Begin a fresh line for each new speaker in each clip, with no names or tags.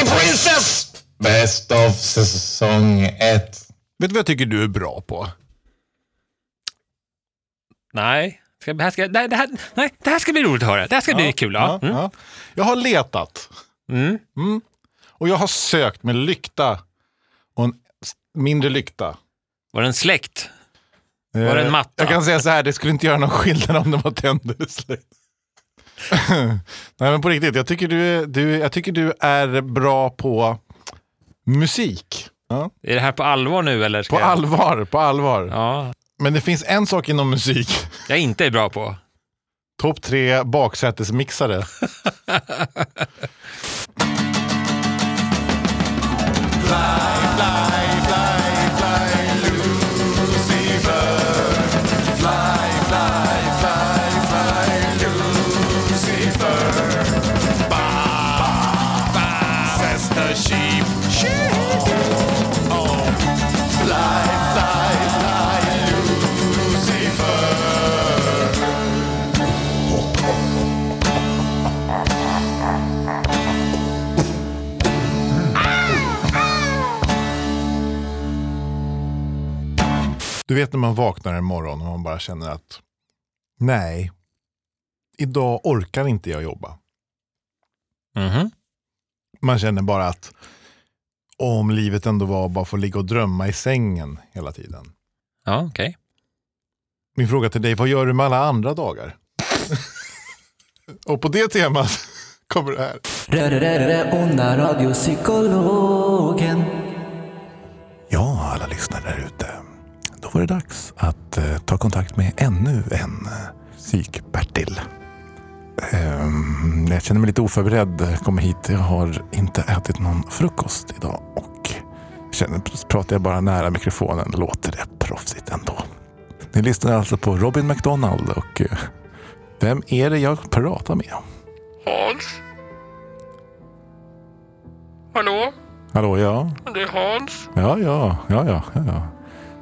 Yes! Best of säsong ett.
Vet du vad jag tycker du är bra på?
Nej. Ska, det, här ska, nej, det, här, nej, det här ska bli roligt att höra. Det här ska bli kul. Ja. Mm.
ja. Jag har letat.
Mm.
Mm. Och jag har sökt med lykta och en s- mindre lykta.
Var det en släkt?
Var
det en matta?
Jag kan säga så här, det skulle inte göra någon skillnad om det var tänd eller släckt. Nej men på riktigt, jag tycker du, är- du, jag tycker du är bra på musik. Ja.
Är det här på allvar nu eller? Ska
På
jag-
allvar, på allvar.
Ja.
Men det finns en sak inom musik.
Jag inte är bra på.
Topp tre baksätesmixare. Du vet när man vaknar en morgon och man bara känner att nej, idag orkar inte jag jobba.
Mhm.
Man känner bara att om livet ändå var bara få ligga och drömma i sängen hela tiden.
Ja, okej.
Min fråga till dig, vad gör du med alla andra dagar? och på det temat kommer det här.
Onda radiopsykologen.
Ja, alla lyssnare där ute. Då var det dags att eh, ta kontakt med ännu en eh, psyk-Bertil. Ehm, jag känner mig lite oförberedd. Kommer hit. Jag har inte ätit någon frukost idag och känner, pratar jag bara nära mikrofonen låter det proffsigt ändå. Ni lyssnar alltså på Robin McDonald och eh, vem är det jag pratar med?
Hans? Hallå?
Hallå, ja.
Det är Hans?
Ja, ja, ja, ja. ja, ja.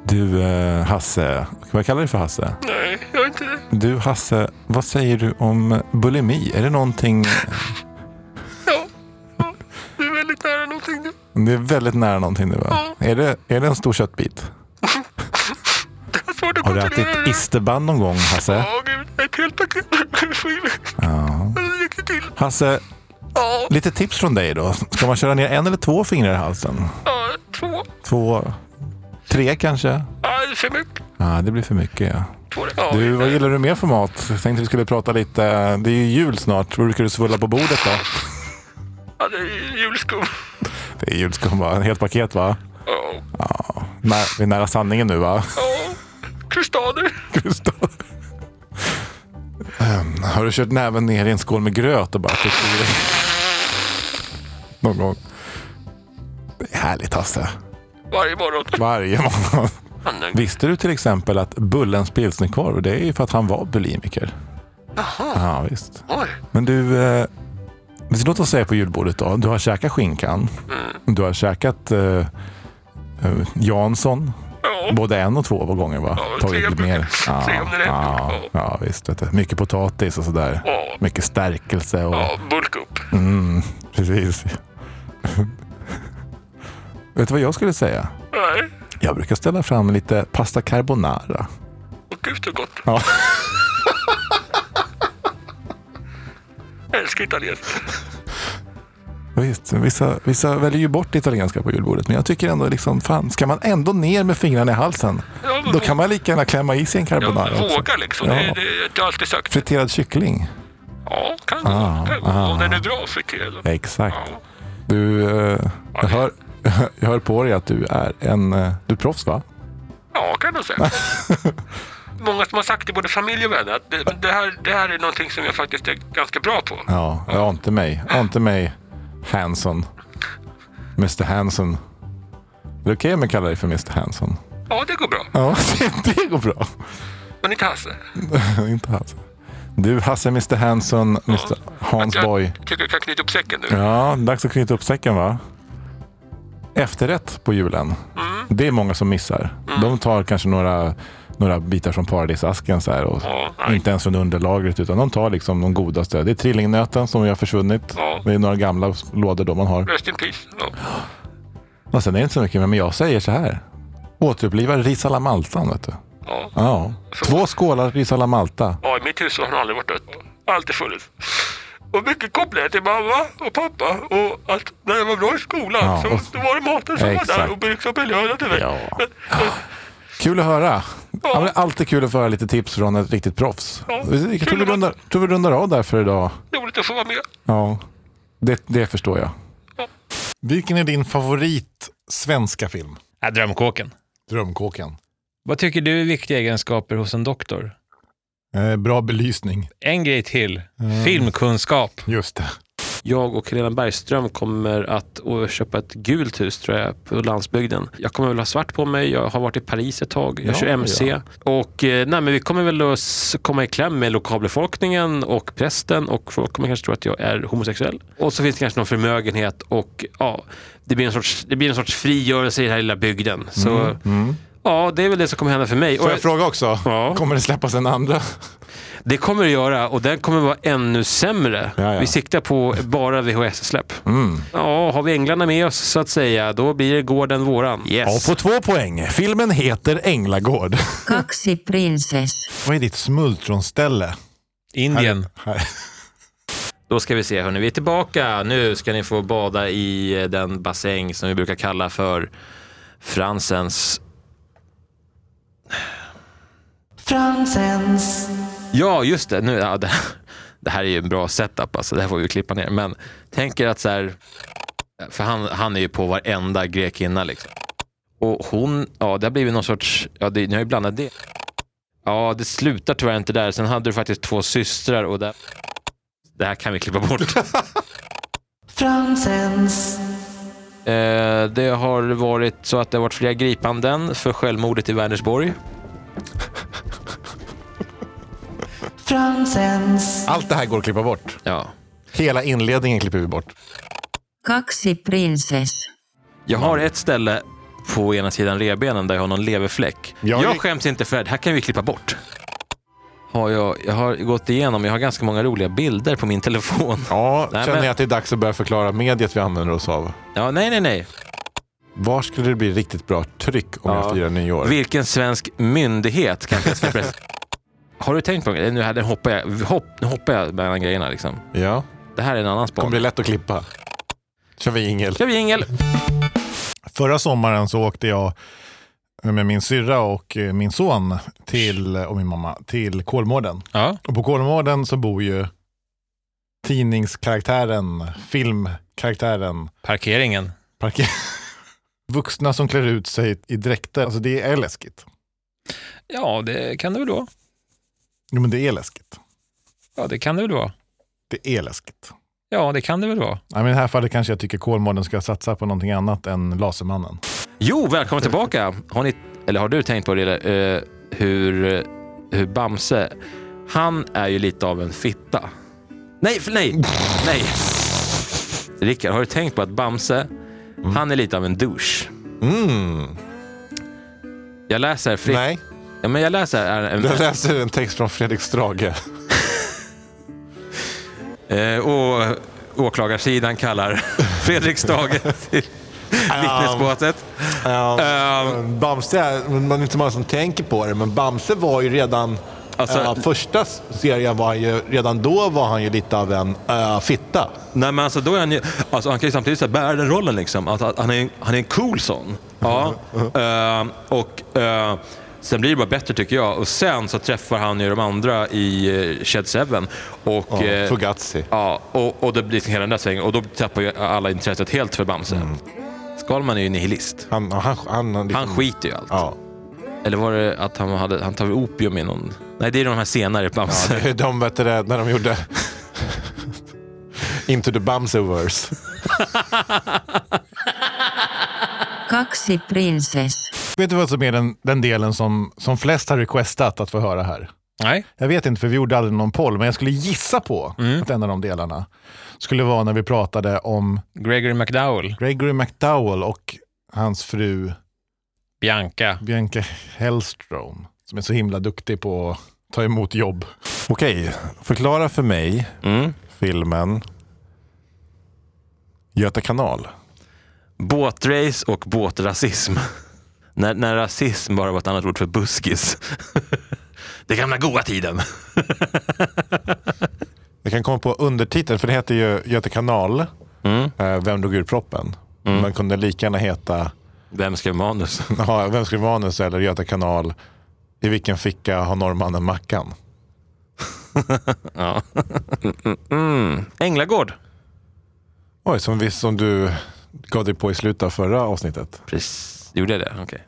Du, eh, Hasse. Vad kallar du för Hasse?
Nej, jag är inte det.
Du Hasse, vad säger du om bulimi? Är det någonting...
Ja. ja. Du är väldigt nära någonting nu.
Det är väldigt nära någonting nu va? Är det, är det en stor köttbit?
Det är svårt att
Har du
kontrollera
ätit
det.
isterband någon gång Hasse?
Ja, gud. Ett helt paket.
Ja.
Det räcker till.
Hasse,
Ja,
lite tips från dig då. Ska man köra ner en eller två fingrar i halsen?
ja två.
Två? Tre kanske?
Ja, det är för mycket.
Ja, det blir för mycket ja.
Två ja,
Du, vad gillar du mer för mat? Jag tänkte vi skulle prata lite... Det är ju jul snart. Vad brukar du svulla på bordet då?
ja, det är julskum.
Det är julskum va? En helt paket va?
Ja.
När, vi är nära sanningen nu va?
ja. Kristaller.
Gustav. Ehm, har du kört näven ner i en skål med gröt och bara tryckt i dig? Någon gång. Det är härligt Hasse.
Varje morgon.
Varje morgon.
Han är-
Visste du till exempel att Bullens pilsnerkorv, det är ju för att han var bulimiker. Jaha. Ja, visst.
Oj.
Men du, eh, visst, låt oss säga på julbordet då. Du har käkat skinkan. Du har käkat eh, eh, Jansson.
Ja.
Både en och två gånger va?
Ja,
Tagit
tre
lite mer.
brukar-
Ja,
tre om det räcker.
ja,
Ja.
ja, visst. Vet du. Mycket potatis och sådär.
Ja.
Mycket stärkelse och...
Ja, bulk upp.
Mm, precis. vet du vad jag skulle säga?
Nej.
Jag brukar ställa fram lite pasta carbonara.
Och gud så gott.
Ja.
Jag älskar italienskt.
Visst, vissa, vissa väljer ju bort det italienska på julbordet. Men jag tycker ändå liksom, fan, ska man ändå ner med fingrarna i halsen?
Ja, men
Då kan man lika gärna klämma i sig en
Jag
carbonara också.
vågar liksom.
Ja.
Det, det, det har jag alltid sagt.
Friterad kyckling.
Ja, kan
Ah,
gå. Kan gå.
ah.
Om den är bra friterad.
Exakt.
Ja.
Du, eh, jag hör, jag hör på dig att du är en... eh, Du är proffs va?
ja, kan jag säga. Många som har sagt till både familj och vänner att det, det, här, det här är någonting som jag faktiskt är ganska bra på.
Ja, jag ante mig. Ante mig Hanson. Mr Hanson. Det är okej om jag kallar dig för Mr Hanson.
Ja, det går bra.
Ja, det går bra.
Men inte Hasse.
Inte Hasse. Du Hasse, Mr Hanson, Mr Hans Boy.
Jag tycker jag kan knyta upp säcken nu.
Ja, dags att knyta upp säcken va?
Mm.
Efterrätt på julen. Det är många som missar. De tar kanske några några bitar från paradisasken så här. Och
Ja, nej.
Inte ens från underlagret utan de tar liksom de godaste. Det är trillingnöten som ju har försvunnit.
Ja.
Det är några gamla lådor då man har.
Rest in peace. Ja.
Och sen är det inte så mycket mer, men jag säger så här. Återuppliva ris alla maltan vet du.
Ja.
Ja. Två skålar ris alla malta.
ja, i mitt hus har han aldrig varit dött. Alltid funnits. Och mycket kopplar jag till mamma och pappa och att när jag var bra i skolan
Ja,
så
och-
då var det maten som var där
Exakt.
och liksom belönade till mig.
Ja. Kul att höra. Ja. men det är alltid kul att få höra lite tips från ett riktigt proffs.
Ja.
Jag tror vi, rundar, tror vi rundar av där för idag.
Roligt att få vara med.
Ja, det, det förstår jag.
Ja.
Vilken är din favorit svenska film?
Ja, Äh, drömkåken.
Drömkåken.
Vad tycker du är viktiga egenskaper hos en doktor?
Eh, bra belysning.
En grej till. Filmkunskap.
Just det.
Jag och Helena Bergström kommer att å- köpa ett gult hus tror jag på landsbygden. Jag kommer väl ha svart på mig, jag har varit i Paris ett tag, jag
Ja,
kör MC.
ja.
Och eh, nej, men vi kommer väl att s- komma i kläm med lokalbefolkningen och prästen och folk kommer kanske tro att jag är homosexuell. Och så finns det kanske någon förmögenhet och ja, det blir en sorts, det blir en sorts frigörelse i den här lilla bygden. Så ja, det är väl det som kommer hända för mig.
Mm, Får
Och
jag fråga också?
Ja.
Kommer det släppas en andra?
det kommer det göra och den kommer vara ännu sämre.
Ja, ja.
Vi siktar på bara VHS-släpp. Ja, har vi änglarna med oss så att säga, då blir gården våran. Yes.
på två poäng. Filmen heter Änglagård.
Kaksi prinsess.
Vad är ditt smultronställe?
Indien.
Här.
Då ska vi se, hörni, vi är tillbaka. Nu ska ni få bada i eh, den bassäng som vi brukar kalla för Fransens.
Fransens.
Ja, just det. Nu, ja, det, det här är ju en bra setup, alltså. det här får vi klippa ner. Men tänk er att så här, för han, han är ju på varenda grekinna liksom. Och hon, ja det har blivit någon sorts, ja det, ni har ju blandat det. Ja, det slutar tyvärr inte där. Sen hade du faktiskt två systrar och där... Det här kan vi klippa bort.
Fransens.
Eh, det har varit så att det har varit flera gripanden för självmordet i Vänersborg.
Fransens.
Allt det här går att klippa bort.
Ja.
Hela inledningen klipper vi bort.
Kaksi prinsess.
Jag har ett ställe på ena sidan revbenen där jag har någon leverfläck.
Jag-
Jag, skäms inte för det. Det här kan vi klippa bort. Har jag, jag har gått igenom, jag har ganska många roliga bilder på min telefon.
Ja,
Nej,
känner
men-
jag att det är dags att börja förklara mediet vi använder oss av.
Ja, nej, nej, nej.
Var skulle det bli riktigt bra tryck om jag
Ja.
firar nyår?
Vilken svensk myndighet kanske jag ska pressa? Har du tänkt på det? Nu, här, nu hoppar jag, hopp, nu hoppar jag mellan grejerna. Liksom.
Ja,
Det här är en annan
det kommer bli
spaning.
lätt att klippa. Kör vi ingel.
Kör vi jingel!
Förra sommaren så åkte jag med min syrra och eh, min son till, och min mamma till Kolmården.
Ja.
Och på Kolmården så bor ju tidningskaraktären, filmkaraktären,
Parkeringen.
parker... vuxna som klär ut sig i dräkter. Alltså det är läskigt.
Ja, det kan det väl vara.
Jo men det är läskigt.
Ja, det kan det väl vara.
Det är läskigt.
Ja, det kan det väl vara.
Nej, men I det här fallet kanske jag tycker Kolmården ska satsa på någonting annat än Lasermannen.
Jo, välkommen tillbaka! Har ni, eller har du tänkt på det, uh, hur, hur Bamse, han är ju lite av en fitta. Nej, för, nej, nej! Rickard, har du tänkt på att Bamse, han är lite av en douche?
Mm.
Jag läser fritt.
Nej,
Ja, men jag läser här. en-
jag läser en text från Fredrik Strage.
Eh, och åklagarsidan kallar Fredrik Stage till vittnesbåset. Eh,
Um, Bamse, är- men man är inte många som tänker på det, men Bamse var ju redan...
Alltså-
eh, första serien var han ju, redan då var han ju lite av en eh, fitta.
Nej men alltså då är han ju, alltså han kan ju samtidigt så här bära den rollen liksom. Alltså, att han, är, en- han är en cool sån. Ja. Ehm, och eh, sen blir det bara bättre tycker jag. Och sen så träffar han ju de andra i uh, Shed 7. Och, eh,
Fugazi.
ja, och, och det blir hela den där svängen. Och då tappar ju alla intresset helt för Bamse. Skalman är ju nihilist.
Han, han, han, han,
Han skiter ju i allt.
Ja,
Eller var det att han, hade, han tar opium i någon... Nej, det är de här senare Bamse.
det är de vet du, det, när de gjorde Into the Bamseverse.
Kaksi prinsess.
Vet du vad som är den, den delen som, som flest har requestat att få höra här?
Nej.
Jag vet inte, för vi gjorde aldrig någon poll, men jag skulle gissa på
Mm.
att en av de delarna skulle vara när vi pratade om
Gregory McDowell.
Gregory McDowell och hans fru
Bianca.
Bianca Hellstrom. Som är så himla duktig på att ta emot jobb.
Okej, förklara för mig
Mm.
filmen Göta kanal.
Båtrace och båtrasism. när, när rasism bara var ett annat ord för buskis. Det gamla goa tiden.
Jag kan komma på undertiteln, för det heter ju Göta kanal.
Mm.
Eh, Vem drog ur proppen?
Mm.
Man kunde lika gärna heta
Vem skrev manus?
ja, Vem skrev manus eller Göta kanal. I vilken ficka har norrmannen Mackan?
Ja. Mm. Änglagård.
Oj, som, vi, som du gav dig på i slutet av förra avsnittet.
Precis. Gjorde jag det? Okej.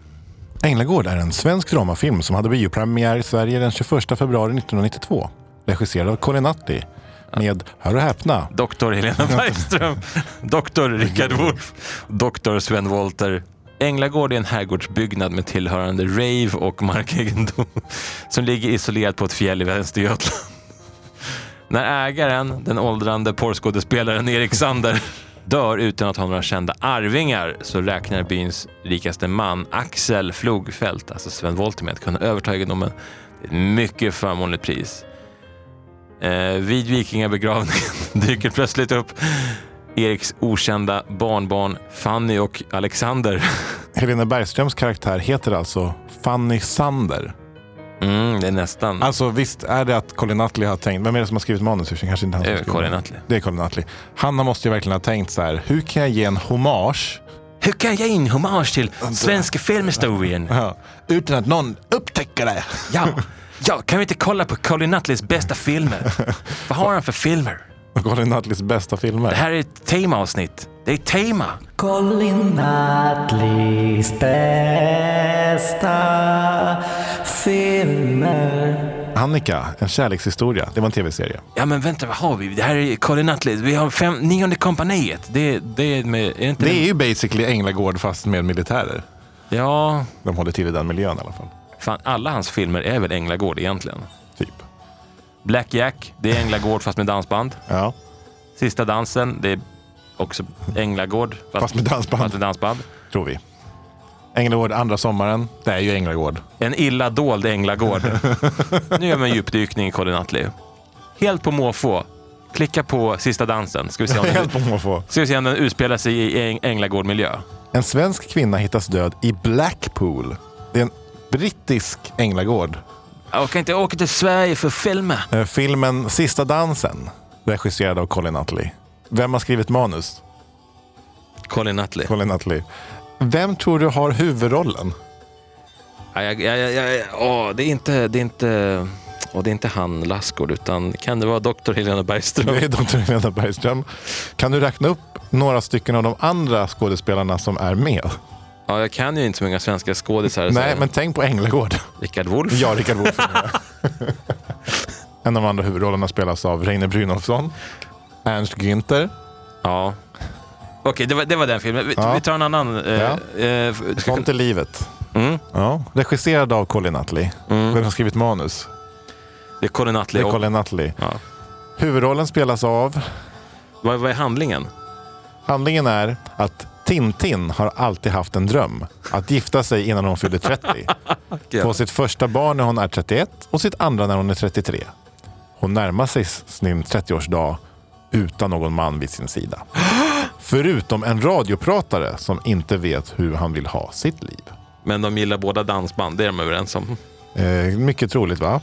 Änglagård är en svensk dramafilm som hade biopremiär i Sverige den 21 februari 1992. Regisserad av Colin Nutley med, hör och häpna,
Doktor Helena Bergström, doktor Rickard Wolff, doktor Sven Wollter. Änglagård är en herrgårdsbyggnad med tillhörande rave och markegendom som ligger isolerad på ett fjäll i Västergötland. När ägaren, den åldrande porrskådespelaren Erik Sander, dör utan att ha några kända arvingar så räknar byns rikaste man Axel Flogfält, alltså Sven Wollter, med att kunna överta egendomen till ett mycket förmånligt pris. Eh, vid vikingabegravningen dyker plötsligt upp Eriks okända barnbarn Fanny och Alexander.
Helena Bergströms karaktär heter alltså Fanny Sander.
Mm, det är nästan
Alltså visst är det att Colin Nutley har tänkt, vem är det som har skrivit manus? Det kanske inte han som har
eh,
skrivit
Karin
manus.
Nutley.
Det är Colin Nutley. Han måste ju verkligen ha tänkt så här, hur kan jag ge en hommage
Hur kan jag ge in hommage till svenska filmhistorien?
ja, utan att någon upptäcker det?
Ja, ja, kan vi inte kolla på Colin Nutleys bästa filmer? Vad har han för filmer?
Och Colin Nutleys bästa filmer.
Det här är ett temaavsnitt. Det är ett tema.
Colin Nutleys bästa filmer.
Annika, en kärlekshistoria. Det var en tv-serie.
Ja, men vänta, vad har vi? Det här är Colin Nutley. Vi har fem, nionde kompaniet. Det, det är med... Är det inte
Det är ju basically Änglagård fast med militärer.
Ja,
De håller till i den miljön i alla fall.
fan, alla hans filmer är väl Änglagård egentligen?
Typ.
Black Jack, det är Änglagård fast med dansband.
Ja.
Sista dansen, det är också Änglagård fast,
Fast med dansband.
fast med dansband.
Tror vi. Änglagård andra sommaren. Det är ju Änglagård.
En illa dold Änglagård. nu gör man en djupdykning i Colin Nutley. Helt på måfå. Klicka på sista dansen. Ska vi se om den,
Helt på att få.
ska vi se om den utspelar sig i Äng- Änglagård-miljö.
En svensk kvinna hittas död i Blackpool. Det är en brittisk Änglagård.
Jag kan inte åka till Sverige för filmer.
Eh, Filmen Sista dansen, regisserad av Colin Nutley. Vem har skrivit manus?
Colin Nutley.
Colin Nutley. Vem tror du har huvudrollen?
Ja, jag, jag, jag, jag, åh, det är inte... Det är inte... Och det är inte han Lassgård, utan kan det vara doktor Helena Bergström?
Det är Dr. Helena Bergström. Kan du räkna upp några stycken av de andra skådespelarna som är med?
Ja, jag kan ju inte så många svenska skådisar.
Nej,
så-
men tänk på Änglagård.
Rickard Wolff.
Ja, Rickard Wolff. en av de andra huvudrollerna spelas av Reine Brynolfsson, Ernst Günther,
Ja. Okej, det var, det var den filmen. Vi,
Ja.
vi tar en annan. Eh,
Ja.
eh, f- ska-
Sånt är livet.
mm,
Ja. Regisserad av Colin Nutley. Vem har skrivit manus?
det är Colin
Det
Nutley.
är
Och,
Colin Nutley.
ja.
Huvudrollen spelas av...
vad, vad är handlingen?
Handlingen är att Tintin har alltid haft en dröm. Att gifta sig innan hon fyller 30. Få sitt första barn när hon är 31 och sitt andra när hon är 33. Hon närmar sig sin 30-årsdag utan någon man vid sin sida. Förutom en radiopratare som inte vet hur han vill ha sitt liv.
Men de gillar båda dansband, det är de överens om.
Eh, mycket troligt va?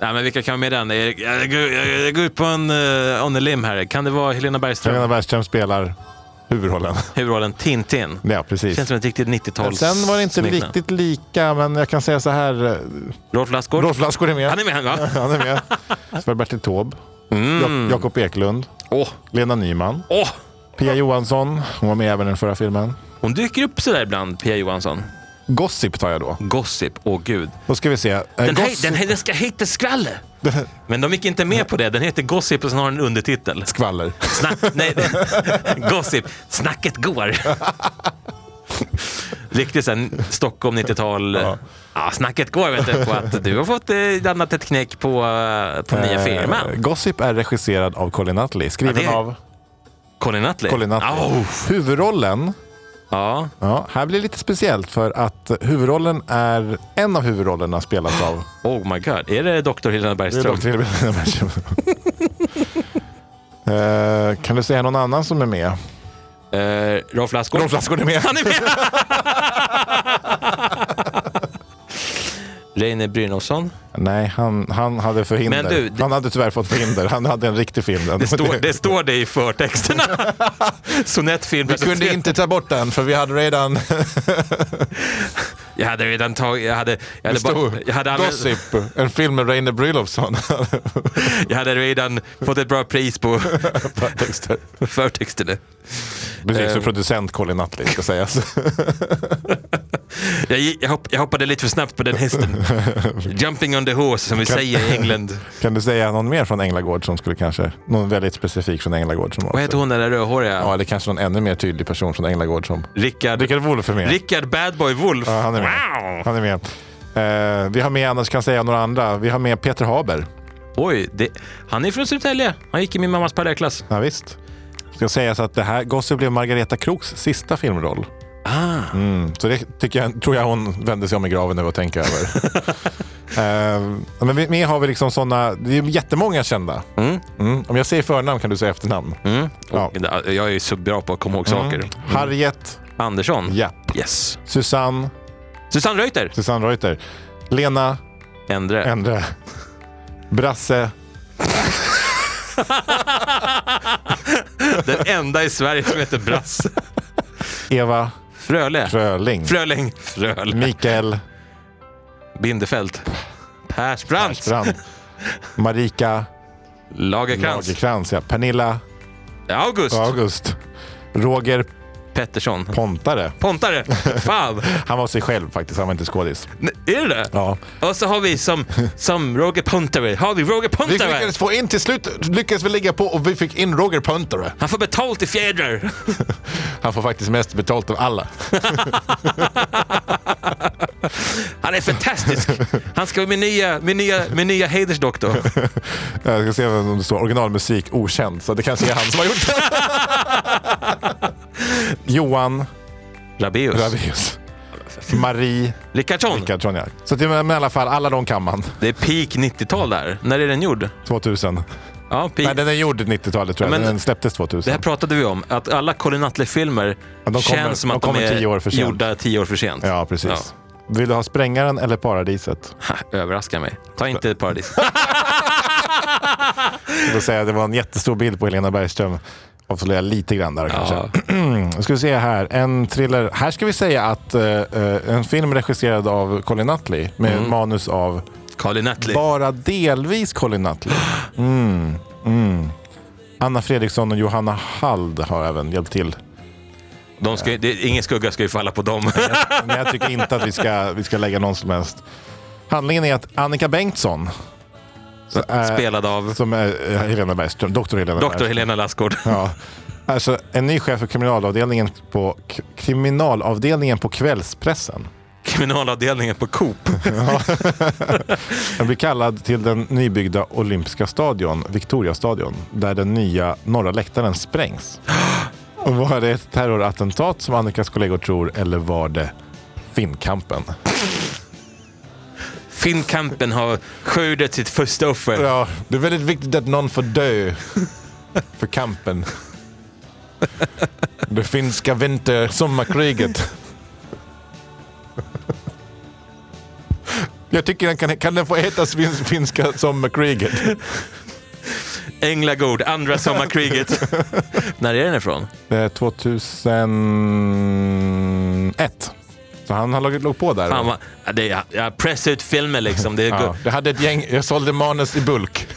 Nej, men vilka kan vara med i den? Jag, jag, går- jag, jag går ut på en uh, on a limb här. Kan det vara Helena Bergström?
Helena Bergström spelar huvudrollen.
Huvudrollen Tintin.
Ja, precis.
Känns som ett riktigt 90-tals...
Sen var det inte
smeknamn.
riktigt lika, men jag kan säga så här. eh,
Rolf Lassgård?
Rolf Lassgård är med.
Han är med han, va?
Han är med. Så var det Bertil Taube, Jak-
Mm.
Jakob Eklund,
Åh,
Lena Nyman,
åh!
Pia Johansson, hon var med även i den förra filmen.
Hon dyker upp sådär ibland, Pia Johansson.
Gossip tar jag då.
Gossip, åh gud.
Då ska vi se. Eh,
Den, här,
Gossip-
den, här, den ska heta Skvaller. Men de gick inte med på det. Den heter Gossip och sen har den en undertitel.
Skvaller.
Snack, nej, gossip. Snacket går. Riktigt sen Stockholm 90-tal. Ja. snacket går vet du, på att du har fått eh, annat ett knäck på, eh, på nya
Eh,
filmen.
Gossip är regisserad av Colin Nutley, skriven
Ja, det är-
av
Colin Nutley.
Colin Nutley.
Au.
Huvudrollen
Ja.
Ja, här blir det lite speciellt för att huvudrollen är, en av huvudrollerna spelas av
Oh my god. Är det Dr. Helena
Det är
Bergström?
dock till Helena Bergström. Eh, kan du säga någon annan som är med?
Eh, Rolf Lassgård?
Rolf Lassgård är med.
Han är med! Reine Brynolfsson.
Nej, han, han hade förhinder.
Men du, det-
Han hade tyvärr fått förhinder. Han hade en riktig film.
Det står det, står det i förtexterna. Sonettfilm.
Vi kunde inte ta bort den för vi hade redan
Jag hade redan tagit... Jag hade, jag
det
hade, bara,
stod
jag hade, använt,
Gossip, en film med Reine Brynolfsson.
jag hade redan fått ett bra pris på
Texter.
förtexterna.
Precis, för
Eh.
producent Colin Nutley ska sägas.
Jag, gick- jag, hopp, jag hoppade lite för snabbt på den hästen. Jumping on the horse som vi säger i England.
kan du säga någon mer från Änglagård som skulle kanske, någon väldigt specifik från Änglagård? Som
Vad heter hon den där rödhåriga?
Ja, eller kanske någon ännu mer tydlig person från Änglagård som...
Rickard,
Rickard Wolff är med.
Rickard Badboy Wolf.
Ja, han är med. Han är med. Eh, vi har med, annars kan jag säga några andra. Vi har med Peter Haber.
Oj, det, han är från Södertälje. Han gick i min mammas parallellklass.
Ja, visst. Ska sägas att det här, Gossip blev Margareta Kroks sista filmroll.
Ah.
Mm, så det tycker jag, tror jag hon vände sig om i graven över att tänka över. Eh, men vi- med har vi liksom sådana, det är jättemånga kända.
Mm.
Mm, om jag säger förnamn kan du säga efternamn.
Mm.
Ja.
Och, Mm. jag är ju så bra på att komma ihåg saker.
Harriet,
Andersson.
ja.
Yes.
Susanne,
Susanne Reuter.
Susanne Reuter. Lena,
Endre.
Endre. Brasse,
Den enda i Sverige som heter Brasse.
Eva
Fröle.
Fröling.
Fröling. Fröle.
Mikael
Bindefeld. Persbrandt.
Strand. Marika
Lagerkrans.
Lagerkrans, ja. Pernilla
August.
August. Roger
Pettersson.
Pontare.
Pontare. Fan.
Han var sig själv faktiskt, han var inte skådis.
N- Är det det?
Ja.
Och så har vi som, som Roger Pontare. Har vi Roger
Vi
Pontare?
lyckades få in till slut, lyckades vi ligga på och vi fick in Roger Pontare.
Han får betalt i fjädrar.
Han får faktiskt mest betalt av alla.
Han är fantastisk. Han ska vara min nya, min nya, min nya hedersdoktor.
Jag ska se om det står originalmusik okänd, så det kanske är han som har gjort det. Johan
Rabeus.
Rabaeus. Marie
Rickardsson.
Rickardsson, ja. Så det är, men i alla fall, alla de kan man.
Det är peak 90-tal där. När är den gjord?
2000.
Ja, peak.
Nej, den är gjord 90-talet tror jag.
Men-
den släpptes
Det
2000.
här pratade vi om, att alla Colin Nutley-filmer
Ja, de kommer-
känns som
de
att de,
kommer
är
tio år för sent.
gjorda tio år för sent.
Ja, precis. Vill du ha Sprängaren eller Paradiset?
Ha, Överraska mig. Ta inte Paradis.
Jag vill säga, det var en jättestor bild på Helena Bergström. Avslöja lite grann där kanske.
Ja.
Nu ska vi se här. En thriller. Här ska vi säga att eh, eh, en film regisserad av Colin Nutley med manus av
Colin Nutley.
bara delvis Colin Nutley. Mm, mm. Anna Fredriksson och Johanna Hald har även hjälpt till.
De ska, ju- det, ingen skugga ska ju falla på dem.
Men jag tycker inte att vi ska, vi ska lägga någon som helst. Handlingen är att Annika Bengtsson, så, eh,
Spelad av
som är eh, Helena Bergström, doktor Helena
Dr.
Bergström.
Helena Lassgård.
Ja. Alltså, en ny chef för kriminalavdelningen på, k- kriminalavdelningen på kvällspressen.
Kriminalavdelningen på Coop.
Den blir kallad till den nybyggda olympiska stadion, Victoriastadion, där den nya norra läktaren sprängs. Och var det ett terrorattentat som Annikas kollegor tror eller var det Finnkampen?
Finnkampen har skördat sitt första offer.
Ja, det är väldigt viktigt att någon får dö för kampen. Det finska vinter sommarkriget. Jag tycker den kan, kan den få heta svin- finska sommarkriget?
Änglagård, andra sommarkriget. När är den ifrån?
Det är 2001. Så han har lagt- låg på där.
Fan vad, ja, det är, jag pressar ut filmer liksom. Det är
ja.
ja.
Det hade ett gäng, jag sålde manus i bulk.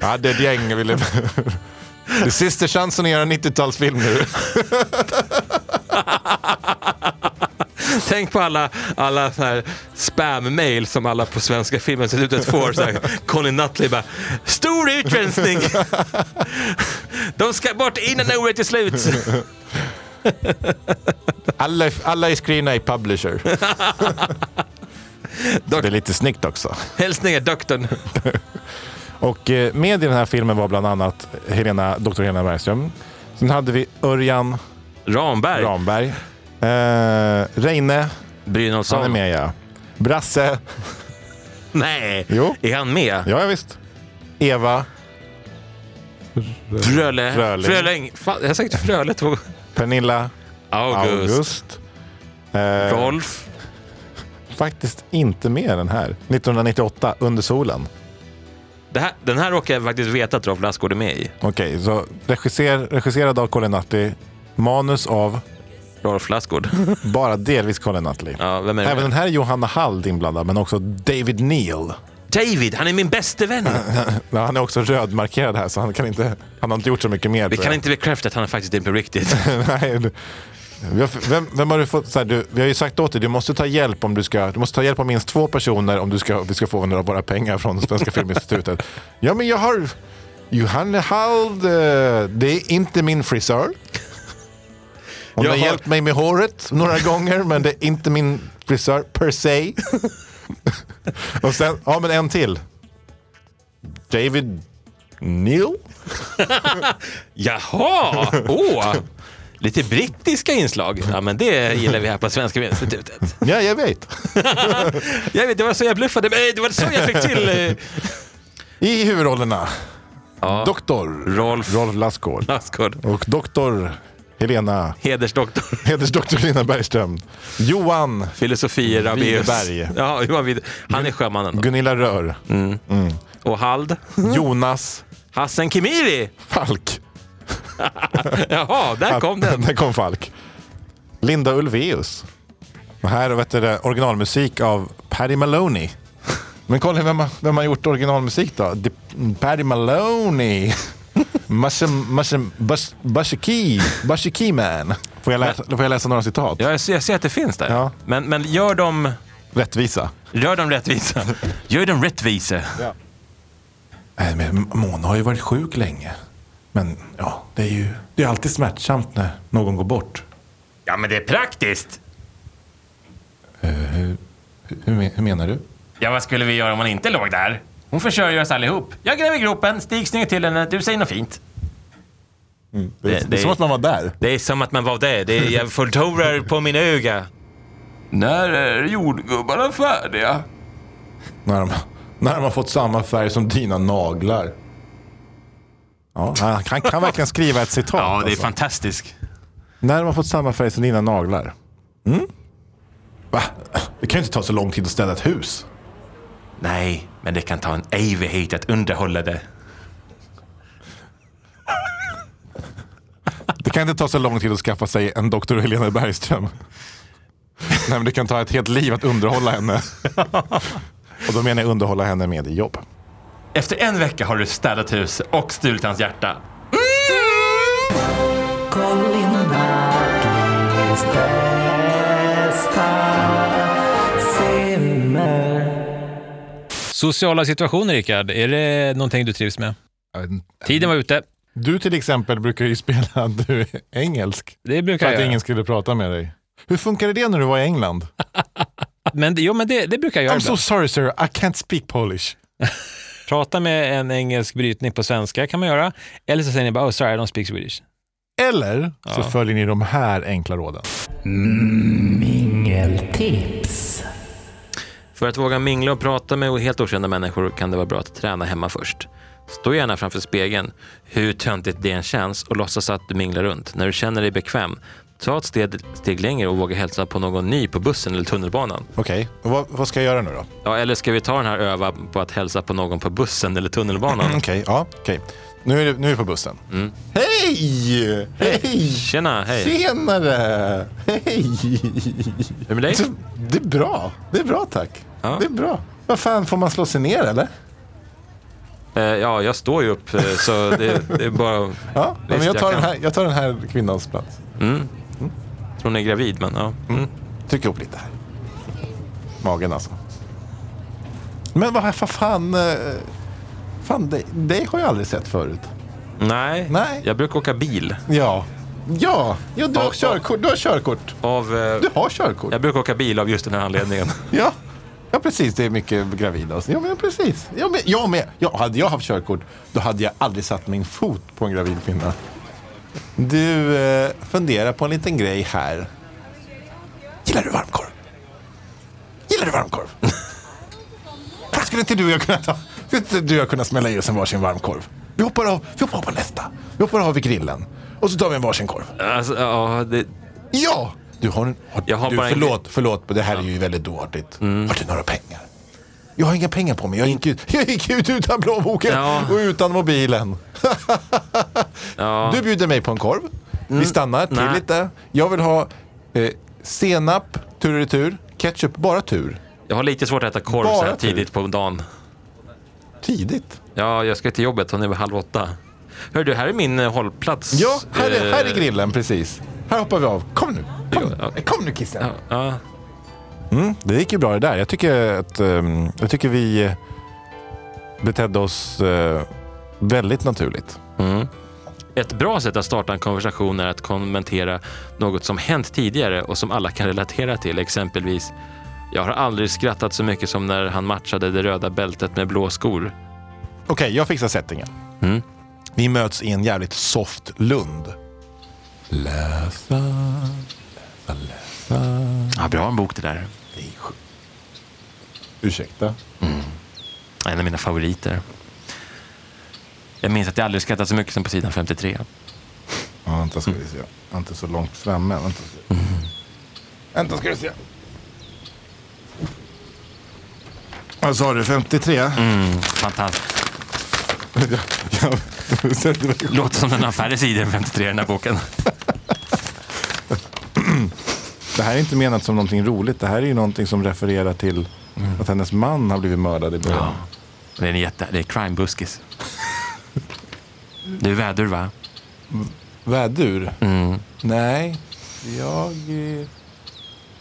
jag hade ett gäng, jag ville... Det är sista chansen att göra en 90-talsfilm nu.
Tänk på alla, alla så här spam-mail som alla på Svenska Filminstitutet får. Så här, Colin Nutley bara “Stor utrensning! De ska bort innan året är slut!”
Alla, alla är skrivna i Publisher. Det är lite snyggt också.
Hälsningar doktorn.
Okej, Och eh, med i den här filmen var bland annat Helena, Dr. Helena Bergström. Sen hade vi Örjan
Ramberg,
Ramberg. Eh, Reine, han är
Brynolfsson.
med ja. Brasse,
Nej,
Jo.
är han med?
ja ja, visst. Eva,
Fröle...
Fröling.
Fröling. Fan, jag har sagt Fröle två gånger.
Pernilla,
August.
August. Eh,
Rolf.
faktiskt inte med i den här. 1998, Under solen.
Det här, den här råkar jag faktiskt veta att Rolf Lassgård är med i.
Okej, så regisser, regisserad av Colin Nutley. Manus av
Rolf Lassgård.
bara delvis Colin Nutley.
Ja, vem är det?
Även
med?
den här är Johanna Hald inblandad, men också David Neal.
David, han är min bäste vän.
Ja, han är också rödmarkerad här, så han, kan inte, han har inte gjort så mycket mer.
Vi
tror
kan
jag.
inte bekräfta att han faktiskt är på riktigt.
Nej, du- vi har- vem, vem har du fått? Så här, du, vi har ju sagt åt dig, du måste ta hjälp om du ska, du måste ta hjälp av minst två personer om du ska, vi ska få några av våra pengar från Svenska Filminstitutet. Ja, men jag har Johanne Hald, eh, det är inte min frisör. Hon
Jag
har
har-
hjälpt mig med håret några gånger, men det är inte min frisör per se. Och sen, ja men en till. David Neal?
Jaha! Åh! Lite brittiska inslag. Ja, men det gillar vi här på Svenska institutet.
Ja, jag vet.
Jag vet, det var så jag bluffade. Nej, det var så jag fick till... eh,
I huvudrollerna.
Ja.
Doktor
Rolf
Rolf Lassgård
Lassgård.
och doktor Helena,
Hedersdoktor.
hedersdoktor Helena Bergström. Johan
Filosofi Rabaeus.
Widerberg.
Ja, Johan Wid- Han är sjömannen. då.
Gunilla Rör.
Och Hald.
Jonas
Hassan Khemiri.
Falk.
Jaha, där kom den.
Där kom Falk. Linda Ulvaeus. Och här vet du, det, originalmusik av Paddy Maloney. Men kolla vem, har- vem har gjort originalmusik då? De, Paddy Maloney. Musham- musham- bus- Bushiki. Bushiki man. Får jag, läsa, får jag läsa några citat?
Ja, jag, ser, jag ser att det finns där.
Ja.
Men, men gör dem...
Rättvisa.
Gör dem rättvisa. Gör dem rättvisa.
Nej, men Mona har ju varit sjuk länge. Men ja, det är ju det är alltid smärtsamt när någon går bort.
Ja, men det är praktiskt.
Eh, Hur, men- hur menar du?
Ja, vad skulle vi göra om man inte låg där? Hon försörjer oss allihop. Jag gräver gropen, Stig snynger till henne, du säger något fint.
Det,
Det-
är,
det är-
som att man var där.
Det är som att man var där. Det är, jag förlorar på min öga.
När är jordgubbarna färdiga?
När de, när de har fått samma färg som dina naglar. Ja, han han kan verkligen skriva ett citat.
Ja, det är
alltså.
fantastiskt.
När de har fått samma färg som dina naglar. Mm? Va? Det kan ju inte ta så lång tid att städa ett hus.
Nej, men det kan ta en evighet att underhålla det.
Det kan inte ta så lång tid att skaffa sig en doktor Helena Bergström. Nej, men det kan ta ett helt liv att underhålla henne. Och då menar jag underhålla henne med i jobb.
Efter en vecka har du städat hus och stulit hans hjärta.
Colin Nutley's bästa filmer.
Sociala situationer, Rickard. Är det någonting du trivs med? Tiden var ute.
Du till exempel brukar ju spela du är engelsk.
Det brukar
För
jag
att
göra.
ingen skulle prata med dig. Hur funkade det när du var i England?
Men, det- jo, men det, det brukar jag göra
I'm so
ibland.
sorry sir, I can't speak Polish.
Prata med en engelsk brytning på svenska kan man göra. Eller så säger ni bara oh, sorry, I don't speak Swedish.
Eller så följer ni de här enkla råden.
Mingeltips.
För att våga mingla och prata med helt okända människor kan det vara bra att träna hemma först. Stå gärna framför spegeln, hur töntigt det än känns, och låtsas att du minglar runt. När du känner dig bekväm, ta ett steg, steg längre och våga hälsa på någon ny på bussen eller tunnelbanan.
Okej, och vad, vad ska jag göra nu då?
Ja, eller ska vi ta den här öva på att hälsa på någon på bussen eller tunnelbanan?
Okej, ja, okej. Nu är det- nu är vi på bussen. Hej! Hej!
Tjena, hej.
Tjenare! Hej!
Hur är det med dig?
Det, det är bra. Det är bra tack.
Ja.
Det är bra. Vad fan, får man slå sig ner eller?
Eh, Ja, jag står ju upp eh, så det, det är bara...
Ja, men
Visst,
jag,
jag
tar
kan.
den här, jag tar den här kvinnans plats.
Jag tror hon är gravid, men ja. Mm.
Tryck ihop lite här. Magen alltså. Men vad vad fan... eh, Fan, dig, dig har jag aldrig sett förut.
Nej,
Nej.
jag brukar åka bil.
Ja. Ja, ja du, har
Ja,
körkort, du har körkort.
Av, eh,
Du har körkort.
jag brukar åka bil av just den här anledningen.
Ja. Ja, precis. Det är mycket gravida och så. Ja, men precis. Ja, men, jag med. Ja, hade jag haft körkort, då hade jag aldrig satt min fot på en gravid kvinna. Du, eh, funderar på en liten grej här. Gillar du varmkorv? Gillar du varmkorv? Här skulle inte du och jag kunna ta... Skulle inte du och jag kunna smälla i oss en varsin varmkorv? Vi hoppar av, vi hoppar av på nästa. Vi hoppar av vid grillen. Och så tar vi en varsin korv.
Alltså, ja, det,
Ja! Du har, en- har,
Jag har
du,
bara en- Mm.
förlåt, förlåt, men det här är ju väldigt dåligt. Har du några pengar? Jag har inga pengar på mig. Jag gick ut, jag gick ut utan plånboken
Ja.
och utan mobilen.
ja. Mm.
Du bjuder mig på en korv. Vi stannar till
Nej.
lite. Jag vill ha eh, senap tur och retur. Ketchup bara tur.
Jag har lite svårt att äta korv så här
Bara tur.
tidigt på dagen.
Tidigt.
Ja, jag ska till jobbet och nu är halv åtta. Hör du, här är min eh, hållplats.
Ja, här är,
Eh,
här är grillen precis. Här hoppar vi av. Kom nu. Kom,
Ja,
nu. Kom nu Mm, kissen.
Ja,
Det gick ju bra det där. Jag tycker att ehm, jag tycker
eh,
vi betedde oss eh, väldigt naturligt.
ett bra sätt att starta en konversation är att kommentera något som hänt tidigare och som alla kan relatera till. Exempelvis, jag har aldrig skrattat så mycket som när han matchade det röda bältet med blå skor.
Okej, jag fixar settingen.
Mm.
Vi möts i en jävligt soft lund. Läsa.
Ja, bra en bok det där.
Ursäkta.
En av mina favoriter. Jag minns att jag aldrig skrattat så mycket som på sidan 53.
Ja, vänta ska vi se. Jag är inte så långt framme. Vänta, ska vi se. vänta ska vi se. Vad sa du? 53?
Fantastiskt.
Ja, ja.
Låter som den har färre sidor än 53 i den här boken.
Det här är inte menat som någonting roligt. Det här är ju någonting som refererar till att hennes man har blivit mördad i början.
Ja. Det är en jätte... Det är crime-buskis. Du är vädur, va?
Vädur? Nej, jag är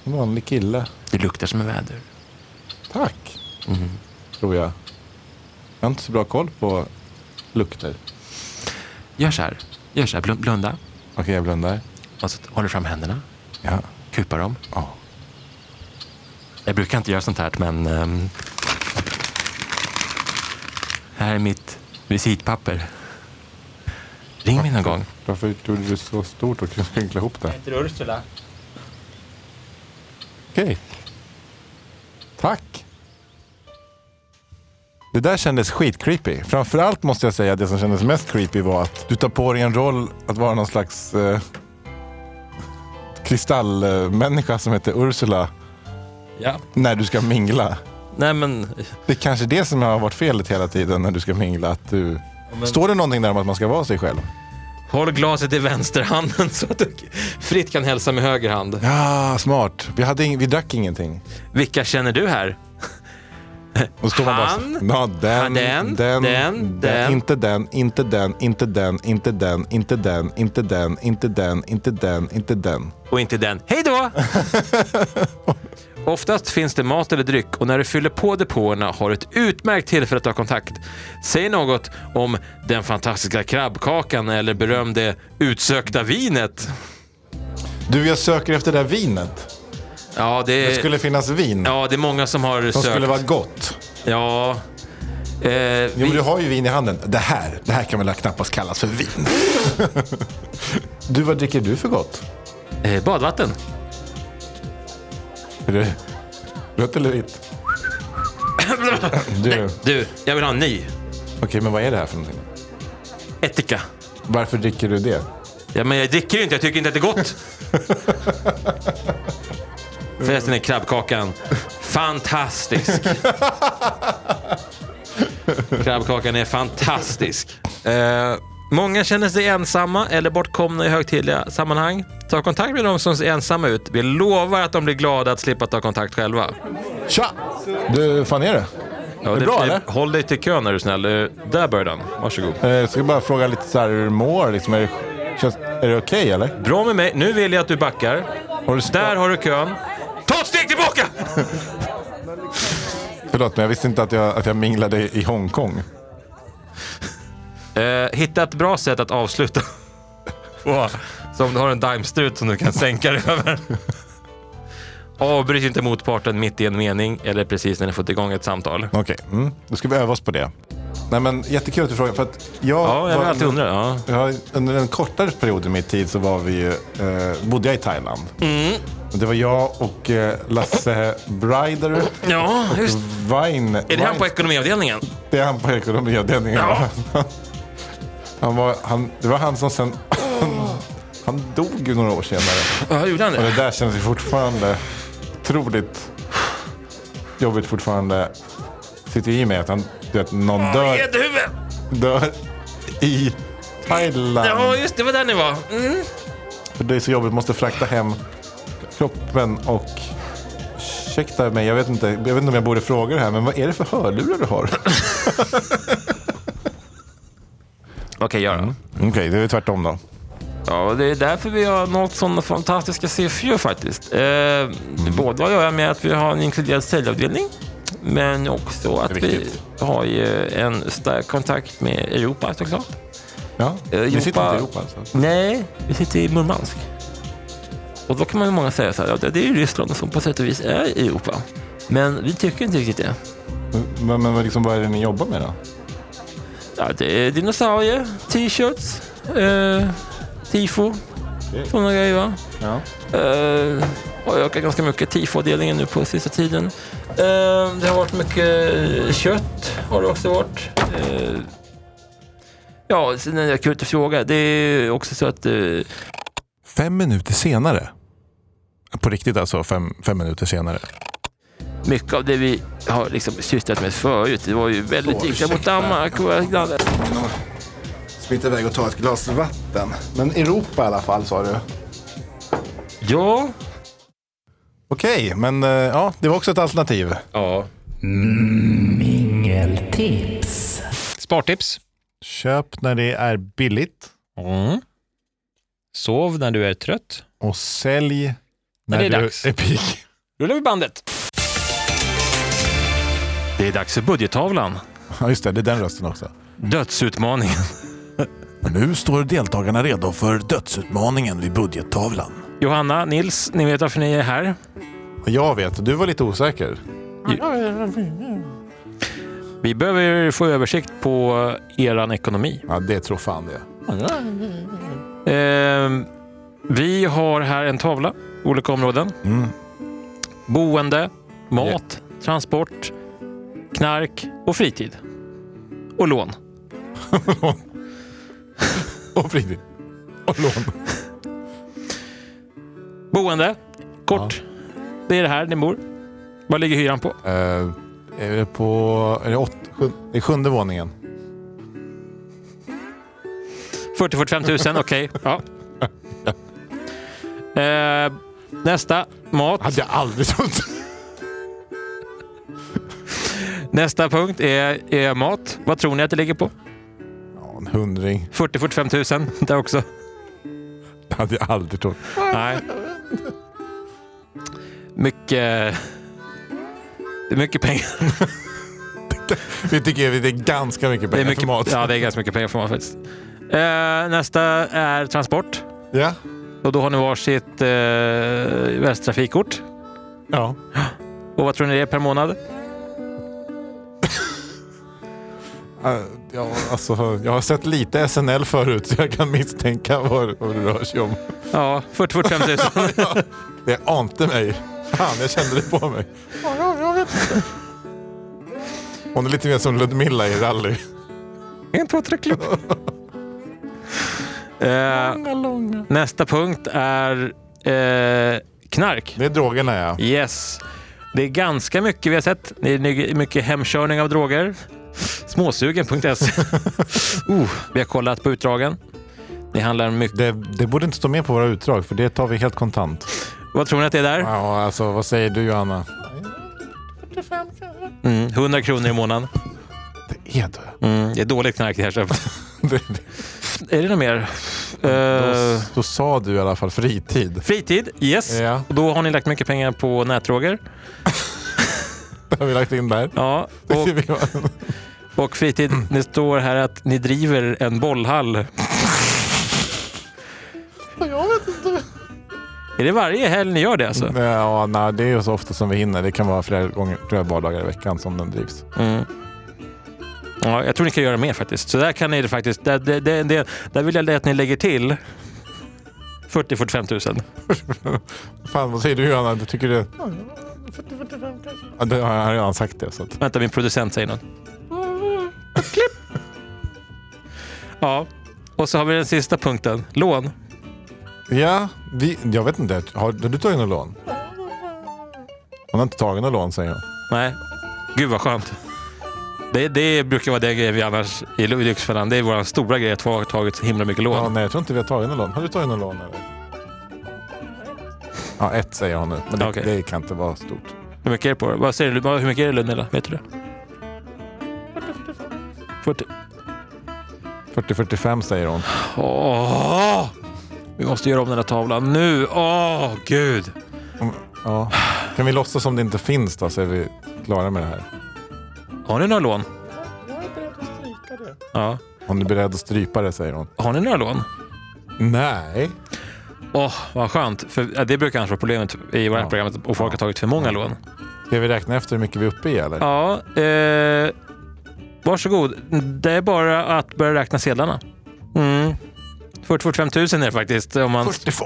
en vanlig kille.
Du luktar som en vädur.
Tack, tror jag. Jag har inte så bra koll på lukter. Okej,
Gör så här. Gör så här. Blun- Blunda.
jag blundar.
Och så håller du fram händerna.
Ja.
Kupar dem.
Ja.
Jag brukar inte göra sånt här, men... ehm, här är mitt visitpapper. Ring mig någon gång.
Varför gjorde du så stort och skrynkla ihop det?
heter Ursula.
Okej. Tack. Det där kändes skitcreepy. Framförallt måste jag säga att det som kändes mest creepy var att du tar på dig en roll att vara någon slags eh, kristallmänniska som heter Ursula
Ja.
när du ska mingla.
Nej, men...
Det är kanske det som har varit felet hela tiden när du ska mingla. Att du... Står det någonting där om att man ska vara sig själv?
Håll glaset i vänsterhanden så att du fritt kan hälsa med höger hand.
Ja, smart. Vi, hade ing- vi drack ingenting.
Vilka känner du här?
Och så står man bara
Han,
så- ja, den,
den,
den, den,
den, den.
Inte den, inte den, inte den, inte den, inte den, inte den, inte den, inte den, inte den.
Och inte den. Hej då! Oftast finns det mat eller dryck och när du fyller på depåerna har du ett utmärkt tillfälle att ta kontakt. Säg något om den fantastiska krabbkakan eller beröm det utsökta vinet.
Du, jag söker efter det där vinet.
Ja, det,
Det skulle finnas vin
ja, det är många som har
som
sökt.
skulle vara gott.
Ja. Eh,
Jo,
vi-
men du har ju vin i handen. Det här, det här kan väl knappast kallas för vin. du, vad dricker du för gott?
eh, badvatten.
Är det rött eller vitt? Du, okej,
Du, jag vill ha en ny.
men vad är det här för någonting?
Ättika.
Varför dricker du det?
Ja, men jag dricker ju inte. Jag tycker inte att det är gott. Förresten är krabbkakan fantastisk. krabbkakan är fantastisk. Eh, många känner sig ensamma eller bortkomna i högtidliga sammanhang. Ta kontakt med de som ser ensamma ut. Vi lovar att de blir glada att slippa ta kontakt själva.
Tja! Du, fan är det?
Ja, det,
bra, eller?
Håll dig till kön är du snäll. Eh, Där börjar den. Varsågod.
Eh, Jag ska bara fråga lite så här hur du mår. Liksom, är det, känns, är det okej eller?
Bra med mig. Nu vill jag att du backar.
Har du
Där har du kön. Ta ett steg tillbaka!
Förlåt, men jag visste inte att jag, att jag minglade i Hongkong.
Eh, hitta ett bra sätt att avsluta. Åh, så om du har en daimstrut som du kan sänka dig över.
Avbryt inte motparten mitt i en mening eller precis när ni fått igång ett samtal.
Okej, mm.
Då ska vi öva oss på det. Nej, men jättekul att du frågar. För att jag
Ja, jag har alltid undrat. Ja.
Ja, under en kortare period i min tid så var vi ju, eh, bodde jag i Thailand.
Mm.
Och Det var jag och eh, Lasse Brider.
ja, just
Vine.
Är det han på ekonomiavdelningen?
Det är han på ekonomiavdelningen.
Ja.
Han var, han, det var han som sen... Han dog ju några år senare.
Ja, gjorde han
Och
det?
det där känns ju fortfarande otroligt jobbigt fortfarande. Sitter i med att han, du vet, någon
Ja,
dör,
Gäddhuvud!
dör i Thailand.
Ja, just det, var där ni var. Mm.
För det är så jobbigt, måste frakta hem kroppen och... Ursäkta mig, jag vet, inte, jag vet inte om jag borde fråga det här, men vad är det för hörlurar du har?
Okej, gör det.
Okej, det är tvärtom då.
Ja, och det är därför vi har nått sådana fantastiska siffror faktiskt. Eh, Båda har att göra med att vi har en inkluderad säljavdelning, men också att vi
Viktigt.
har ju en stark kontakt med Europa såklart.
Ja,
Eh,
vi sitter inte i
Europa
Europa alltså.
Nej, vi sitter i Murmansk. Och då kan man ju många säga så här, ja, det är ju Ryssland som på sätt och vis är i Europa. Men vi tycker inte riktigt det.
Men, men liksom, vad är det ni jobbar med då?
Ja, det är dinosaurier, t-shirts, eh, tifo, sådana grejer va?
Ja.
Eh, har ökat ganska mycket, tifo-avdelningen nu på sista tiden. Eh, det har varit mycket eh, kött, har det också varit. Eh, ja, sen är det akut att fråga. Det är också så att eh,
Fem minuter senare. På riktigt alltså, fem, fem minuter senare.
mycket av det vi har liksom sysslat med förut, det var ju väldigt lika mot Danmark. och våra grannar.
Smita iväg och ta ett glas vatten. Men Europa i alla fall, sa du?
Ja,
Okej, men eh, ja, det var också ett alternativ.
ja.
Mingeltips.
Spartips.
Köp när det är billigt
Mm. Sov när du är trött.
och sälj när,
det är
du
dags.
är pigg.
Rullar vi bandet.
Det är dags för budgettavlan.
Ja, just det. Det är den rösten också.
Dödsutmaningen.
Nu står deltagarna redo för dödsutmaningen vid budgettavlan.
Johanna, Nils, ni vet varför ni är här.
Jag vet, du var lite osäker.
Vi behöver få översikt på eran ekonomi.
Ja, det tror fan det.
Ehm, vi har här en tavla, olika områden. Boende, mat, transport, knark och fritid. Och lån.
Och fritid. Och lån.
Boende, kort. Det är det här ni bor. Vad ligger hyran på?
Eh, är det på... Är det åt, sjun, det är sjunde våningen?
40-45 000, okej. Ja. Ehm, nästa, mat.
Hade jag aldrig trott.
Nästa punkt är, är mat. Vad tror ni att det ligger på?
Ja, en hundring.
40-45 000 där också.
Det hade jag aldrig trott.
Nej. Mycket... Det är mycket pengar.
Vi tycker det är ganska mycket
Det är
pengar
mycket,
för mat.
Ja, det är ganska mycket pengar för mat faktiskt. Eh, nästa är transport.
Ja.
Och då har ni varsitt eh, Västtrafikkort.
ja.
Och vad tror ni det är per månad?
Eh, Ja, alltså, jag har sett lite SNL förut så jag kan misstänka vad, vad det rör sig om.
Ja, 40-45 000.
Det ante mig. Fan, jag kände det på mig. Hon är lite mer som Ludmilla i rally.
en, två, tre, klubb. Eh, nästa punkt är eh, knark.
Det är drogerna ja.
Yes. Det är ganska mycket vi har sett. Det är mycket hemkörning av droger. Småsugen.se. oh, vi har kollat på utdragen. Det handlar mycket...
Det, det borde inte stå med på våra utdrag för det tar vi helt kontant.
Vad tror ni att det är där?
Ja, alltså vad säger du Johanna?
Mm, 100 kronor i månaden.
Det är det.
Mm, det är dåligt knark det här köpet.
det, det.
Är det något mer?
Då,
Eh,
då sa du i alla fall fritid.
fritid, yes.
Ja,
Och då har ni lagt mycket pengar på nätdroger.
det har vi lagt in där.
Ja, och, och fritid, det står här att ni driver en bollhall.
Är det varje helg ni gör det alltså?
Ja, nej, det är ju så ofta som vi hinner. Det kan vara flera gånger, flera vardagar i veckan som den drivs.
Mm. Ja, jag tror ni kan göra mer faktiskt. Så där kan ni faktiskt... Där, det, det, det, där vill jag att ni lägger till 40-45 000.
Fan, vad säger du Johanna? Du tycker du... Ja, det har jag redan sagt det. Så att...
Vänta, min producent säger något. Klipp! Ja, och så har vi den sista punkten. Lån.
Ja, vi, jag vet inte. Har, har du tagit något lån? Hon har inte tagit något lån säger hon.
Nej. Gud vad skönt. Det, det brukar vara den grejen vi annars i Lyxfällan. Det är vår stora grej att vi har tagit så himla mycket lån.
Ja, nej, jag tror inte vi har tagit något lån. Har du tagit något lån? Eller? Ja, ett säger hon nu. Men det,
Okej.
det kan inte vara stort.
Hur mycket är det på det? Vad säger du? Vad- Hur mycket är det Ludmilla? Vet du det? 40.
40-45 säger hon.
Åh! Vi måste göra om den här tavlan nu. Åh, gud!
Ja. Kan vi låtsas som det inte finns då så är vi klara med det här.
Har ni några lån? Ja.
Hon är beredd att strypa det säger hon.
Har ni några lån?
Nej.
Åh, vad skönt. För ja, det brukar annars vara problemet i våra
Ja.
programmet och folk har tagit för många lån.
Ska vi räkna efter hur mycket vi är uppe i eller?
Ja, eh, varsågod. Det är bara att börja räkna sedlarna. Mm. 40-45 000 är det faktiskt. Om man,
42.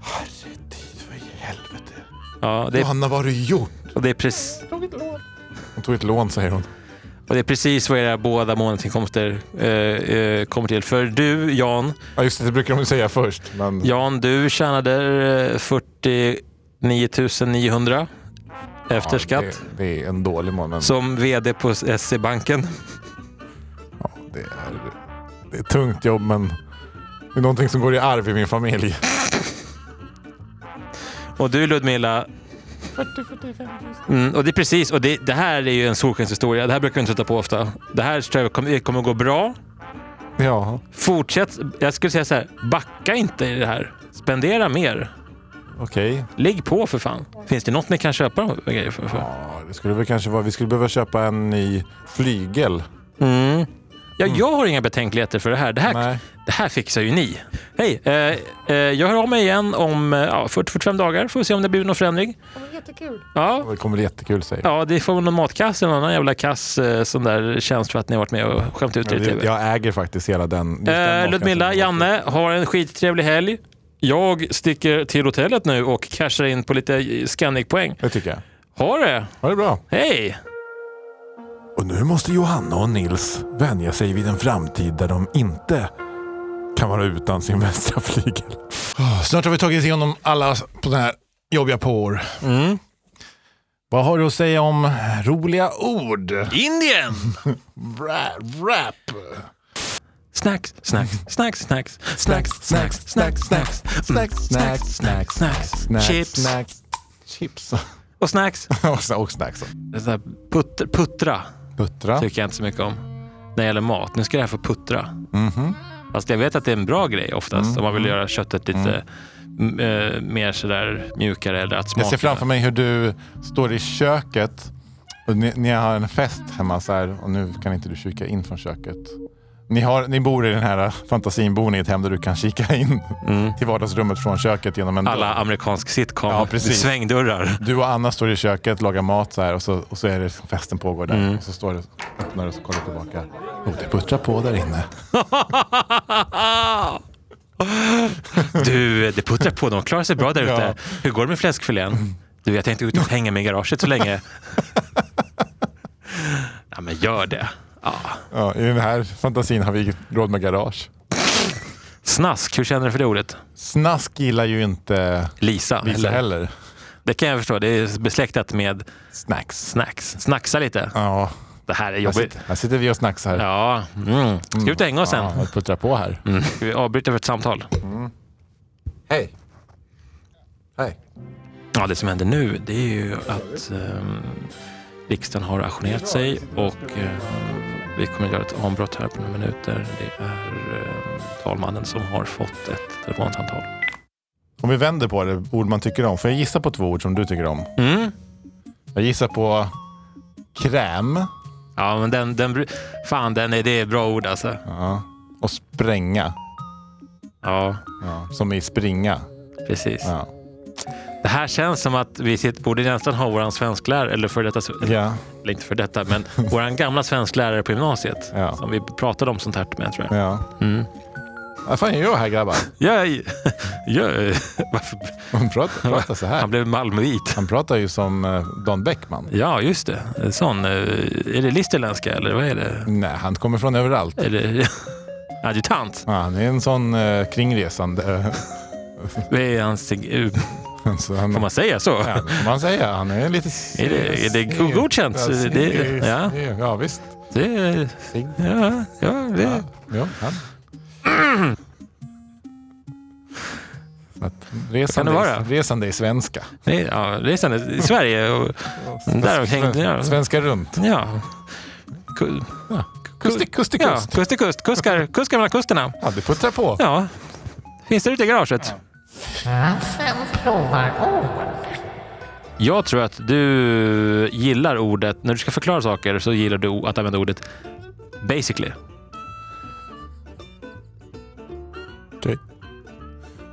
Herregud, vad i helvete.
ja, det, är-
Johanna, vad har du gjort?
och, det är precis,
Hon tog ett lån säger hon.
och det är precis vad era båda månadsinkomster eh, eh, kommer till. För du, Jan,
Ja just det, det brukar hon ju säga först. Men
Jan, du tjänade eh, 49 900 efter skatt.
Ja, det, det är en dålig månad.
Som vd på E SE-banken.
Ja, det, är, det är ett tungt jobb men det är någonting som går i arv i min familj.
Och du Ludmilla? 40-45 mm, Och det är precis, och det, det här är ju en solskenshistoria. Det här brukar vi inte sätta på ofta. Det här tror jag kommer, kommer gå bra.
Ja,
Fortsätt, jag skulle säga så här, backa inte i det här. Spendera mer.
okej.
Lägg på för fan. Finns det något ni kan köpa de här grejer för? för?
Ja, det skulle väl kanske vara, vi skulle behöva köpa en ny flygel.
Mm. Ja, jag har inga betänkligheter för det här. Det här,
Nej.
det här fixar ju ni. Hej, eh, eh, jag hör av mig igen om eh, ja, 40-45 dagar. Får vi se om det blir någon förändring. Jättekul. Ja,
Det kommer bli jättekul säger jag.
Ja, det får väl någon matkass eller någon annan jävla kass eh, sån där tjänst för att ni har varit med och skämt ut er i
Jag-
tv.
Jag äger faktiskt hela den. just den
Eh,
makan
Ludmilla,
som-
Janne, har en skittrevlig helg. Jag sticker till hotellet nu och cashar in på lite Scandic-poäng.
Det tycker jag.
Ha det!
Ha det bra.
Hej!
Och nu måste Johanna och Nils vänja sig vid en framtid där de inte kan vara utan sin västra flygel. Ah,
Snart har vi tagit igenom alla på den här jobbiga pår. Vad har du att säga om roliga ord?
Indien!
Rap. rap.
Snacks, snacks, snacks, snacks, snacks, snacks, snacks, snacks, snacks, snacks, snacks, snacks, chips
Snacks. Chips.
och snacks.
och sna- och snacks.
Det är så här putter, puttra
Puttra.
tycker jag inte så mycket om när det gäller mat. Nu ska det här få puttra.
Mhm.
Fast jag vet att det är en bra grej oftast om man vill
Mm.
göra köttet lite m- eh, mer sådär mjukare eller att smaka.
Jag ser framför mig hur du står i köket och ni, ni har en fest hemma så här och nu kan inte du kika in från köket. Ni, har, ni bor i den här äh, fantasin, bor ni i ett hem där du kan kika in till vardagsrummet från köket genom en
Mm. Alla amerikansk sitcom.
Ja, precis.
Svängdörrar.
Du och Anna står i köket, lagar mat så här och så, och så är det liksom festen pågår där. Och så står du, öppnar och så kollar tillbaka. Oh, det puttrar på där inne.
du, det puttrar på. De klarar sig bra där ute.
Ja.
Hur går det med fläskfilén? Du, jag tänkte ut och hänga mig i garaget så länge. ja, men gör det. Ja.
Ja, I den här fantasin har vi råd med garage.
Snask, hur känner du för det ordet?
Snask gillar ju inte
Lisa.
Lisa
eller?
heller.
Det kan jag förstå. Det är besläktat med
Snacks.
snacks. Snacksa lite.
Ja,
Det här är
här
jobbigt.
sitter, här sitter vi och snacksar.
Ja, mm. ska vi ut och hänga oss sen?
Ja, det puttrar på här.
Mm. Ska vi avbryta för ett samtal?
Hej. Hej.
Ja, det som händer nu det är ju att ehm, riksdagen har ajournerat sig och ehm, vi kommer att göra ett avbrott här på några minuter. Det är ehm, talmannen som har fått ett telefonsamtal.
Om vi vänder på det, ord man tycker om. Får jag gissa på två ord som du tycker om?
Mm.
Jag gissar på kräm
Ja, men den, den, bru- fan, den är, det är bra ord alltså.
och spränga.
Ja,
Som i springa.
Precis.
Ja.
Det här känns som att vi sitter, borde nästan ha vår svensklärare, eller för detta,
Ja.
eller inte för detta, men vår gamla svensklärare på gymnasiet.
Ja.
Som vi pratade om sånt här med, tror jag.
Ja.
Mm.
Vad fan gör jag här grabbar?
Ja, ja, varför,
Han pratar, pratar så här.
han blev malmöit.
Han pratar ju som eh, Dan Bäckman.
Ja, just det. En sån. eh, Är det listerländska eller vad är det?
Nej, han kommer från överallt.
Är det adjutant?
Ja, han är en sån eh, kringresande.
Vad är hans... eh,
så han,
Får man säga så?
ja, får man säga. Han är lite...
Är det, är det go- godkänt?
Ja,
Det, ja,
ja visst.
det, ja, ja,
Ja,
det.
ja, han. Så Att resande,
Vad kan det
är-
vara?
resande är svenska.
Nej, ja, resan är i Sverige och där omkring. Ja,
Svenska runt.
ja. Ku-
Kust till kust. Till
Ja,
kust.
kust till kust. Kuskar, kuskar mellan kusterna.
Ja, det puttrar på.
Ja, finns det ute i garaget? Jag tror att du gillar ordet, när du ska förklara saker så gillar du att använda ordet basically.
Okej.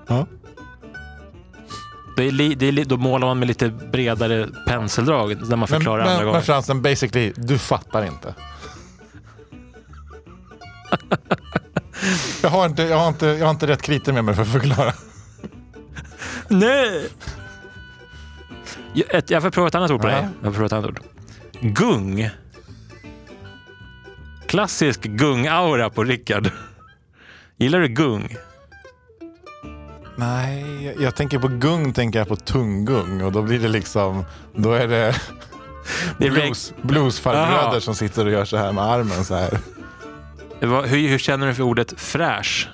Ja.
Det är li, det är li, då målar man med lite bredare penseldrag när man
Men,
förklarar andra
men, men
gånger.
Fransen, basically, du fattar inte. Jag har inte, jag har inte, jag har inte rätt kriter med mig för att förklara.
Nej! Jag, ett, jag får prova ett annat ord på dig.
Ja.
Jag får prova ett annat ord. Gung. Klassisk gung-aura på Rickard. Gillar du gung?
Nej, jag, jag tänker på gung, tänker jag på tunggung och då blir det liksom, då är det
Det är
blues, bluesfarbröder
Aha.
som sitter och gör så här med armen så här.
Vad- Hur, hur känner du för ordet fräsch?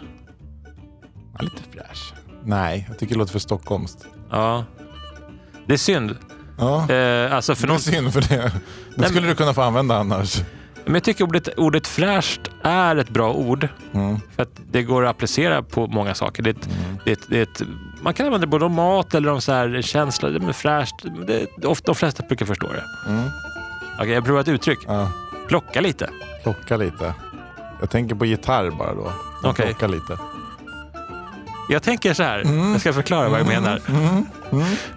Ja, lite fräsch. Nej, jag tycker det låter för stockholmskt.
Ja. Det är synd.
Ja,
Eh, alltså för
det är
någon,
synd för det. Det skulle du kunna få använda annars.
men jag tycker ordet, ordet fräscht är ett bra ord.
Mm.
För att det går att applicera på många saker. Det är ett, det är ett, det är ett, man kan använda det både om mat eller om så här känsla. Det är fräscht. men Det, det, ofta, de flesta brukar förstå det.
Mm.
Okej, jag provar ett uttryck.
Ja,
Plocka lite.
plocka lite. Jag tänker på gitarr bara då.
Okej.
Plocka lite.
Jag tänker så här.
Mm.
Jag ska förklara vad jag menar.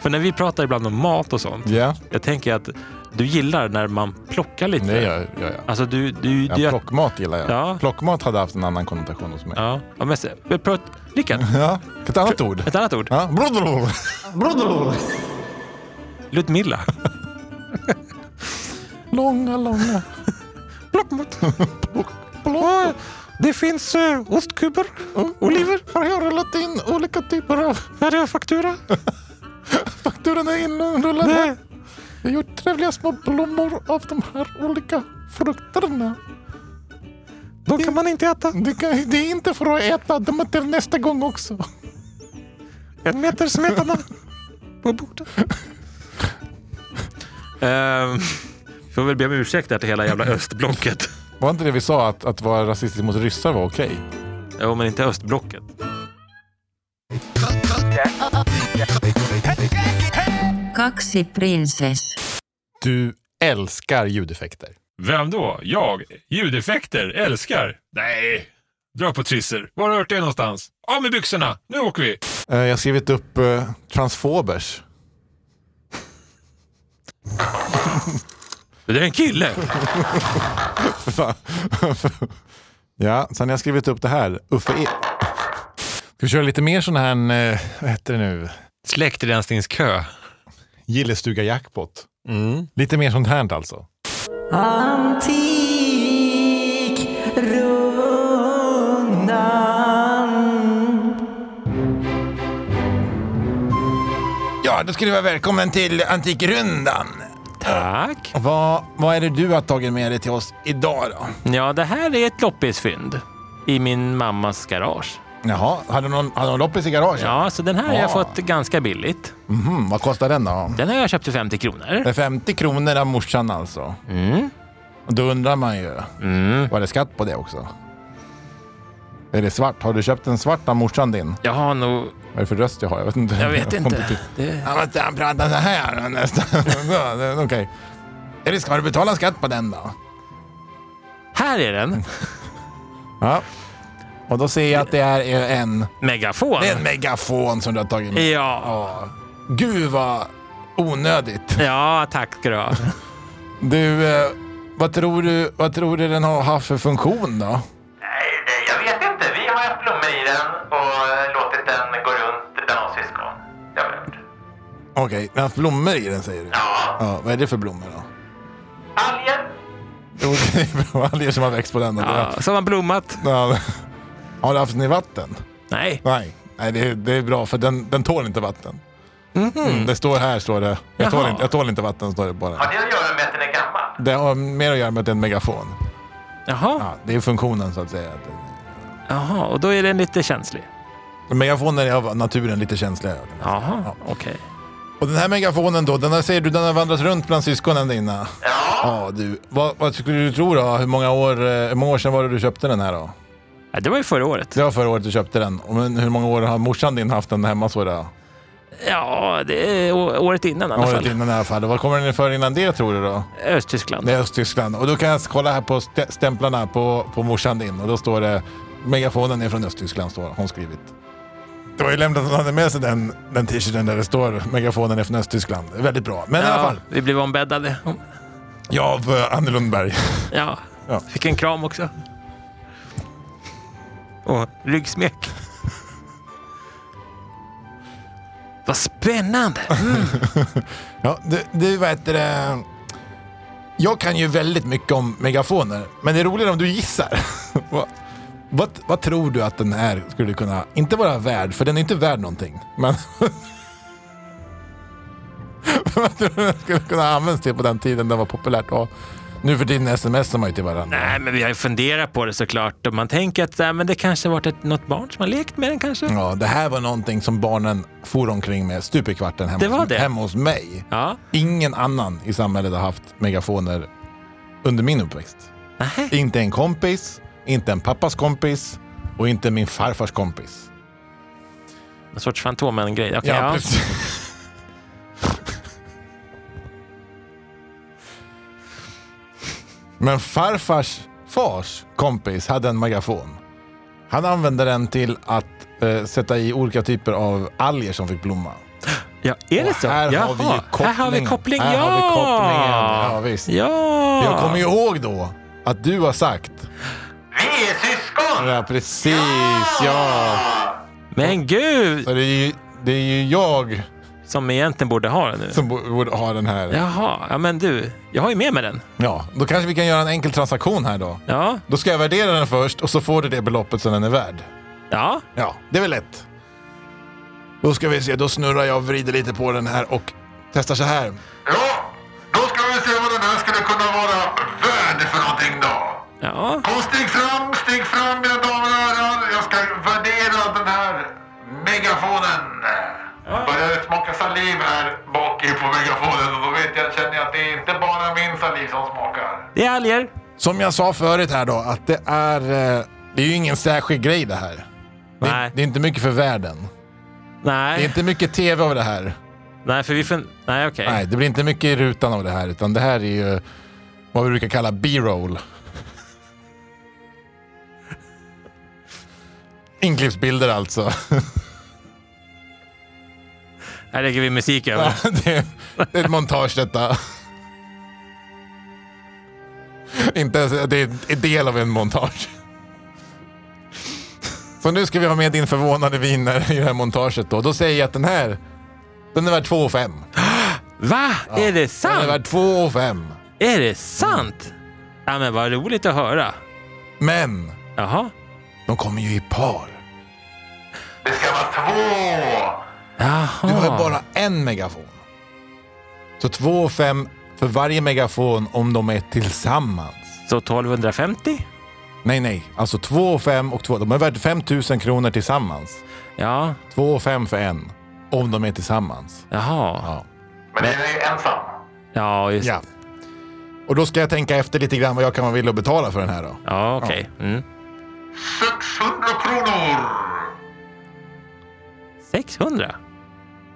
För när vi pratar ibland om mat och sånt.
Ja,
Jag tänker att du gillar när man plockar lite.
det gör gör jag.
Alltså du... du, du
Ja, plockmat gillar jag.
Ja.
Plockmat hade haft en annan konnotation hos mig.
Ja, ja men se- men pröv- Rickard,
Ja. Ett annat ord.
ett annat ord.
Ja. Brodolol. Brodolol.
Ludmilla.
Långa, långa.
Plockmat. Oj, Det finns eh, ostkuber, oliver,
Har jag rullat in olika typer av...
här är faktura.
Fakturan är inrullad här.
Det,
Jag har gjort trevliga små blommor av de här olika frukterna.
de kan man inte äta.
Det, kan, det är inte för att äta, de är till nästa gång också.
En meter smetarna på bordet. Ehm, får väl be om ursäkt där till hela jävla östblocket.
Var inte det vi sa, att, att vara rasistisk mot ryssar var okej?
Jo, men inte östblocket.
Kaksi prinsess.
Du älskar ljudeffekter.
Vem då? Jag? Ljudeffekter? Älskar? Nej! Dra på trisser. Var har du hört det någonstans? Av med byxorna! Nu åker vi!
Eh, Jag har skrivit upp eh, transfobers.
Det är en kille.
Fan. ja, sen har jag skrivit upp det här. Uffe E. Ska vi köra lite mer sån här, eh, vad heter det nu,
Släktrensningskö.
gillestuga-jackpot?
Mm.
Lite mer sånt här alltså. Ja, då ska du vara välkommen till Antikrundan.
Tack.
Vad, vad är det du har tagit med dig till oss idag då?
Ja, det här är ett loppisfynd i min mammas garage.
Jaha, hade någon, hade någon loppis i garaget?
Ja, så den här har jag
Ah.
fått ganska billigt.
Mhm, vad kostar den då?
Den har jag köpt för 50 kronor.
Det är 50 kronor av morsan alltså.
Mm.
Och Då undrar man ju,
Mm.
var det skatt på det också? Är det svart? Har du köpt en svart av morsan din?
Jag har nog...
Vad är det för röst jag har? Jag vet inte.
Jag vet
kom till-
inte. Det,
Han måste han prata så här nästan. Ja, det- Okej. Eller ska du betala skatt på den då?
här är den.
Ja. Och då ser jag att det är en,
Megafon?
det är en megafon som du har tagit med.
Ja.
Ja. Gud vad onödigt.
ja, tack ska du ha.
Du, eh, vad tror du, vad tror du den har haft för funktion då?
Nej, det- Eh, jag vet inte. Vi har haft blommor i den och eh, låtit den gå runt bland oss syskon. Det har vi gjort.
Okej, den har haft blommor i den säger du?
Ja.
ja vad är det för blommor då?
Alger?
Jo, det är bra alger som har växt på den. Ja.
Ja, som har blommat.
Ja. Har du haft den i vatten?
Nej.
Nej, Nej det, är, det är bra för den, den tål inte vatten. Mm, det står här, står det. Jag tål,
Jaha.
inte, jag tål inte vatten, står det bara.
Har det att göra med att den är gammal?
Det har mer att göra med att det är en megafon.
Jaha.
Ja, det är funktionen så att säga. Att den-
Jaha, och då är den lite känslig.
Megafoner är av naturen lite känsliga.
Jaha, okej.
Och den här megafonen då, den här, säger du den har vandrat runt bland syskonen dina?
Ja.
Ja, du. Vad, vad skulle du tro då? Hur många, år, eh, hur många år sedan var det du köpte den här då?
Ja, det var ju förra året.
Det var förra året du köpte den. Och Men hur många år har morsan din haft den hemma så då?
Ja, det är å- året innan i alla
Året
fall.
innan i alla fall. Och vad kommer den för innan det tror du då?
Östtyskland.
Det är Östtyskland. Och då kan jag kolla här på stä- stämplarna på, på morsan din och då står det megafonen är från Östtyskland står hon skrivit. Det var ju lämpligt att hon hade med sig den, den t-shirten där det står megafonen är från Östtyskland. Det är Väldigt bra. Men i alla
Ja,
fall,
vi blev ombäddade.
jag av eh, Anne Lundberg.
Ja.
Ja.
Fick en kram också. Och ryggsmek. Vad spännande!
Ja, du, du vad heter det? Jag kan ju väldigt mycket om megafoner, men det är roligare om du gissar. vad, vad, vad tror du att den här skulle kunna, inte vara värd, för den är inte värd någonting, men... vad tror du den skulle kunna användas till på den tiden den var populärt? Och nu för tiden smsar man ju till varandra.
Nej, men vi har ju funderat på det såklart. Och man tänker att nej, men det kanske varit ett, något barn som har lekt med den kanske.
Ja, det här var någonting som barnen for omkring med stup i kvarten hemma,
Det var
hos-
det.
hemma hos mig.
Ja.
Ingen annan i samhället har haft megafoner under min uppväxt.
Nej.
Inte en kompis, inte en pappas kompis och inte min farfars kompis.
Någon sorts Fantomen-grej. Okej, ja.
precis. Men farfars fars kompis hade en megafon. Han använde den till att eh, sätta i olika typer av alger som fick blomma.
ja. Är det
Och
så?
Här har
Jaha.
vi ju kopplingen.
Här har vi koppling,
Här
ja!
har vi kopplingen. Ja, visst.
Ja!
Jag kommer ju ihåg då att du har sagt.
Vi är syskon!
Ja, precis. Ja.
Men gud!
Så det, är ju, det är ju jag
Som egentligen borde ha den nu.
som bo- borde ha den här.
Jaha, ja men du. Jag har ju med mig den.
Ja, då kanske vi kan göra en enkel transaktion här då.
Ja,
Då ska jag värdera den först och så får du det beloppet som den är värd.
ja.
Ja, det är väl lätt. Då ska vi se, då snurrar jag och vrider lite på den här och testar så här.
Ja, då ska vi se vad den här skulle kunna vara värd för någonting då.
Ja,
Kom, stig fram, stig fram mina damer och herrar. Jag ska värdera den här megafonen. Börjar smaka saliv här bak i på megafonen och då vet jag, känner jag att det är inte bara min saliv som smakar.
det är alger.
Som jag sa förut här då, att det är... eh, Det är ju ingen särskild grej det här.
Nej.
Det är inte mycket för världen.
Nej,
Det är inte mycket tv av det här.
nej för vi fun- Nej, okej.
Nej, det blir inte mycket i rutan av det här, utan det här är ju vad vi brukar kalla B-roll. Inklippsbilder alltså.
Här lägger vi musik över.
det är det är ett montage detta. Inte ens, det är en del av en montage. Så nu ska vi ha med din förvånade viner i det här montaget då. Då säger jag att den här, den är värd 2 5.
Va? Är det
Den är
sant?
värd 2 5.
Är det sant? Ja, men vad roligt att höra.
Men
Jaha.
de kommer ju i par.
Det ska vara två.
Jaha.
Du har ju
Ah.
bara en megafon. Så 2 och 5 för varje megafon om de är tillsammans.
Så 1250?
Nej, nej. Alltså 2 och 5 och 2. De är värda 5 000 kronor tillsammans.
Ja,
2 och 5 för en. Om de är tillsammans.
jaha.
Ja.
Men den är ju ensam.
Ja, just
ja. Och då ska jag tänka efter lite grann vad jag kan vara villig att betala för den här då.
Ja, okej. Mm.
600 kronor.
600?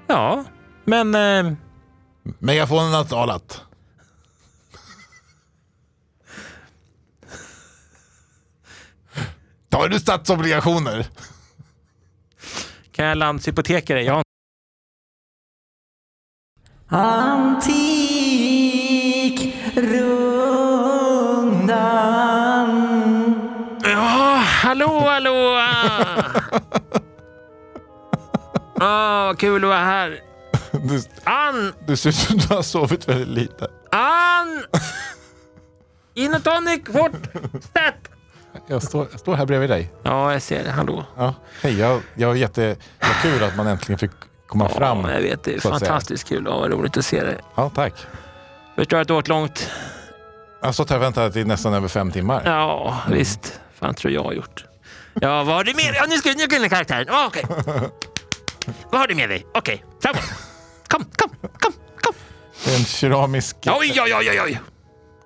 Ja, men... Eh,
Megafonen har talat. Ta Har du statsobligationer?
Kan jag landshypoteker dig? Ja.
Antikrundan.
Ja, hallå, hallå! Åh, Ah, vad kul att vara här.
Du,
Ann!
du ser ut som du har sovit väldigt lite.
Ann! In och tonic, fort! Stat!
Jag står, jag står här bredvid dig.
Ja, jag ser det. Hallå.
Ja. Hej, jag, jag var jätte, vad kul att man äntligen fick komma fram.
Ja, jag vet, det är
så att säga.
fantastiskt kul. Ja, vad roligt att se dig.
Ja, tack.
Förstår att du åt långt.
Jag har stått här och väntat i nästan över fem timmar.
Ja,
Mm.
visst. Fan tror jag har gjort. Ja, vad har du med dig? Ja, nu ska nu glömde jag karaktären. Ja, Okej. Vad har du med dig? Okej, framåt. Kom, kom, kom, kom.
Det är En keramisk
Oj, oj, oj, oj, oj.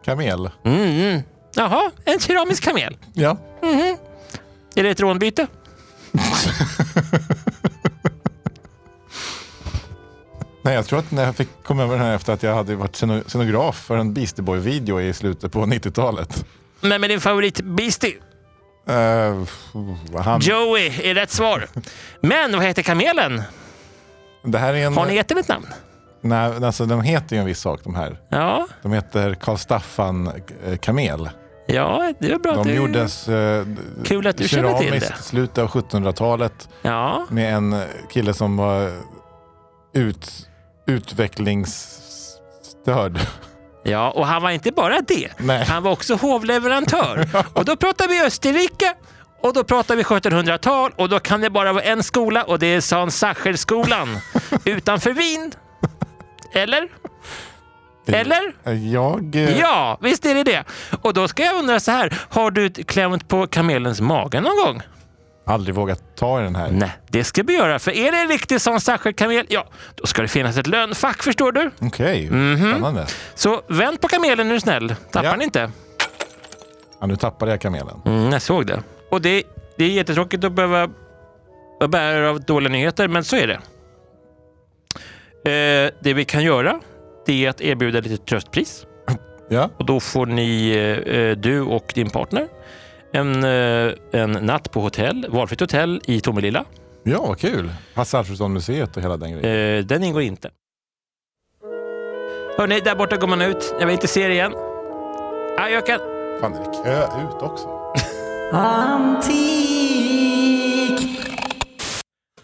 kamel.
Mm. Jaha, en keramisk kamel.
Ja.
Mhm. Är det ett rånbyte?
Nej, jag tror att när jag fick komma över den här efter att jag hade varit sceno- scenograf för en Beastie Boy-video i slutet på 90-talet.
Nej, men din favorit Beastie,
Eh, han,
Joey, är rätt svar. Men vad heter kamelen?
det här är en...
Har ni gett den ett namn?
Nej, alltså, de heter ju en viss sak de här.
Ja,
De heter Karl Staffan eh, Kamel.
ja det var bra att
De
du...
gjordes eh,
Kul att du känner till
keramiskt
det.
slutet av 1700-talet
Ja,
med en eh, kille som var ut, utvecklingsstörd.
ja, och han var inte bara det.
Nej.
Han var också hovleverantör. Och då pratar vi Österrike. Och då pratar vi 1700-tal och då kan det bara vara en skola och det är San Sacherskolan utanför Wien. Eller? Eller?
Jag... eh,
Ja, visst är det det. Och då ska jag undra så här, har du klämt på kamelens mage någon gång?
aldrig vågat ta i den här.
Nej, det ska vi göra. För är det en riktig sån kamel, ja, då ska det finnas ett lönnfack, förstår du.
Okej,
Mhm.
spännande.
Så vänd på kamelen nu snäll. Tappar
Ja.
den inte?
Ja, nu tappade jag kamelen.
Mm, jag såg det. Och det, det är jättetråkigt att behöva att bära av dåliga nyheter, men så är det. Eh, det vi kan göra, det är att erbjuda lite tröstpris.
Ja.
Och då får ni, eh, eh, du och din partner, en, eh, en natt på hotell, valfritt hotell i Tomelilla.
Ja, vad kul. Hasse Alfredson-museet och hela den grejen.
Eh, den ingår inte. Hörni, där borta går man ut. Jag vill inte se er igen. Ajöken!
Fan, det är kö ut också.
Antik.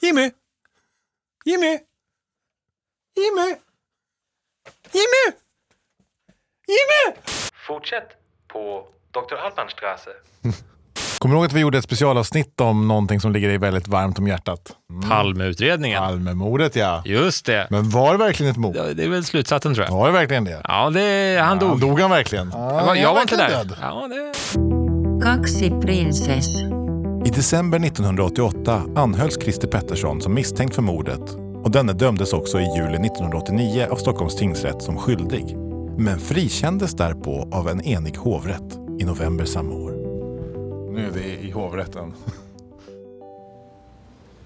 Jimmy! Jimmy! Jimmy! Jimmy! Jimmy! Fortsätt på Dr. Albanstrasse.
Kommer du ihåg att vi gjorde ett specialavsnitt om någonting som ligger dig väldigt varmt om hjärtat? Mm.
Palmeutredningen.
Palmemordet, ja.
Just det.
Men var det verkligen ett mord?
Ja, Det är väl slutsatsen tror jag.
Var det verkligen det?
Ja, det, han
Ja,
dog.
dog han verkligen?
Jag var, jag var inte där.
Död.
Ja, det...
Kaksi prinsess.
I december 1988 anhölls Christer Pettersson som misstänkt för mordet och denne dömdes också i juli 1989 av Stockholms tingsrätt som skyldig. Men frikändes därpå av en enig hovrätt i november samma år.
Nu är vi i hovrätten.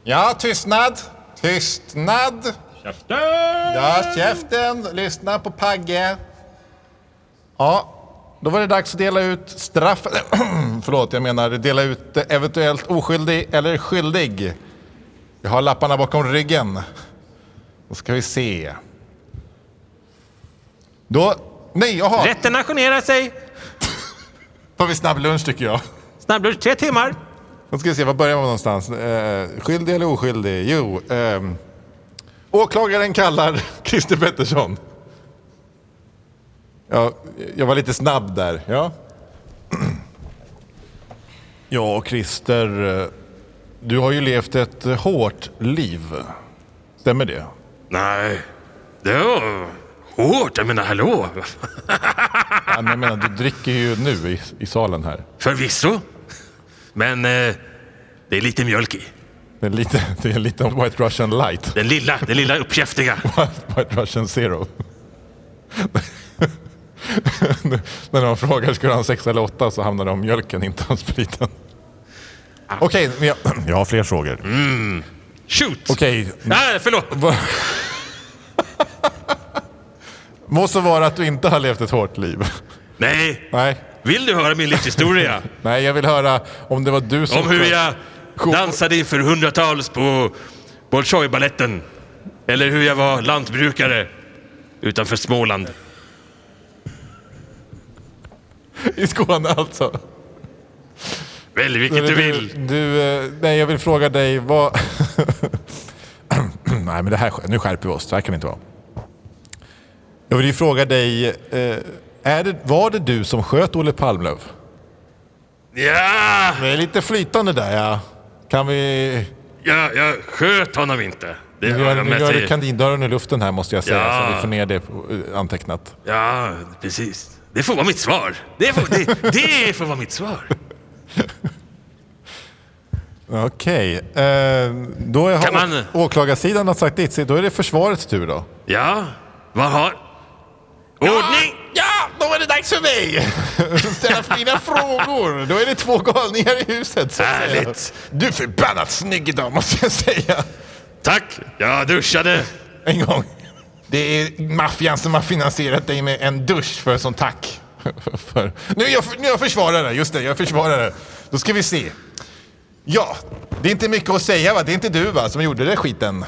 Ja, tystnad! Tystnad! Käften! Ja, käften! Lyssna på Pagge. Ja, då var det dags att dela ut straff... Förlåt, jag menar dela ut eventuellt oskyldig eller skyldig. Jag har lapparna bakom ryggen. Då ska vi se. Då... Nej, jaha!
Rätten ajournerar sig.
Då har vi snabb lunch tycker jag.
Snabblunch tre timmar.
Då ska vi se, var börjar man någonstans? Eh, skyldig eller oskyldig? Jo, ehm, åklagaren kallar Christer Pettersson. Ja, jag var lite snabb där. Ja, ja Christer, eh, du har ju levt ett eh, hårt liv. Stämmer det?
Nej, det var hårt. Jag menar, hallå?
Ja, men Jag menar, du dricker ju nu i, i salen här.
Förvisso. Men eh, det är lite mjölk i.
Det är lite, det är lite White Russian light.
Den lilla, den lilla uppkäftiga.
White Russian Zero. När de frågar ska du ha en sex eller åtta så hamnar det om mjölken, inte om spriten.
Ah.
Okej, men jag, jag har fler frågor.
Mm. Shoot!
Okej,
Nej, förlåt.
må så vara att du inte har levt ett hårt liv.
Nej,
Nej,
Vill du höra min livshistoria?
Nej, jag vill höra om det var du som...
Om hur jag dansade inför hundratals på Bolshoi-baletten. Eller hur jag var lantbrukare utanför Småland.
I Skåne alltså.
Välj vilket du vill.
Du, eh, nej, jag vill fråga dig vad... nej, men det här, nu skärper vi oss. Så här kan det inte vara. Jag vill ju fråga dig, eh, är det, var det du som sköt Olle Palmlöv?
Ja!
Det är lite flytande där ja. Kan vi...
Jag, jag sköt honom inte.
Nu
har
gör,
jag
nu
med
gör
sig.
du kandindörren i luften här måste jag säga,
Ja.
så vi får ner det eh, antecknat.
Ja, precis. Det får vara mitt svar. Det får, det, det får vara mitt svar.
Okej, eh, då har
Kan man-
man... åklagarsidan har sagt ditt, så då är det försvarets tur då.
Ja, vad har... Ordning!
Ja, då är det dags för mig! Ställa mina frågor. Då är det två galningar i huset. Så att säga.
Härligt.
Du är förbannat snygg idag måste jag säga.
Tack, jag duschade.
En gång. Det är maffian som har finansierat dig med en dusch för som tack. för. Nu är jag, nu är jag försvarare, just det, jag är försvarare. Då ska vi se. Ja, det är inte mycket att säga va? Det är inte du va, som gjorde det skiten?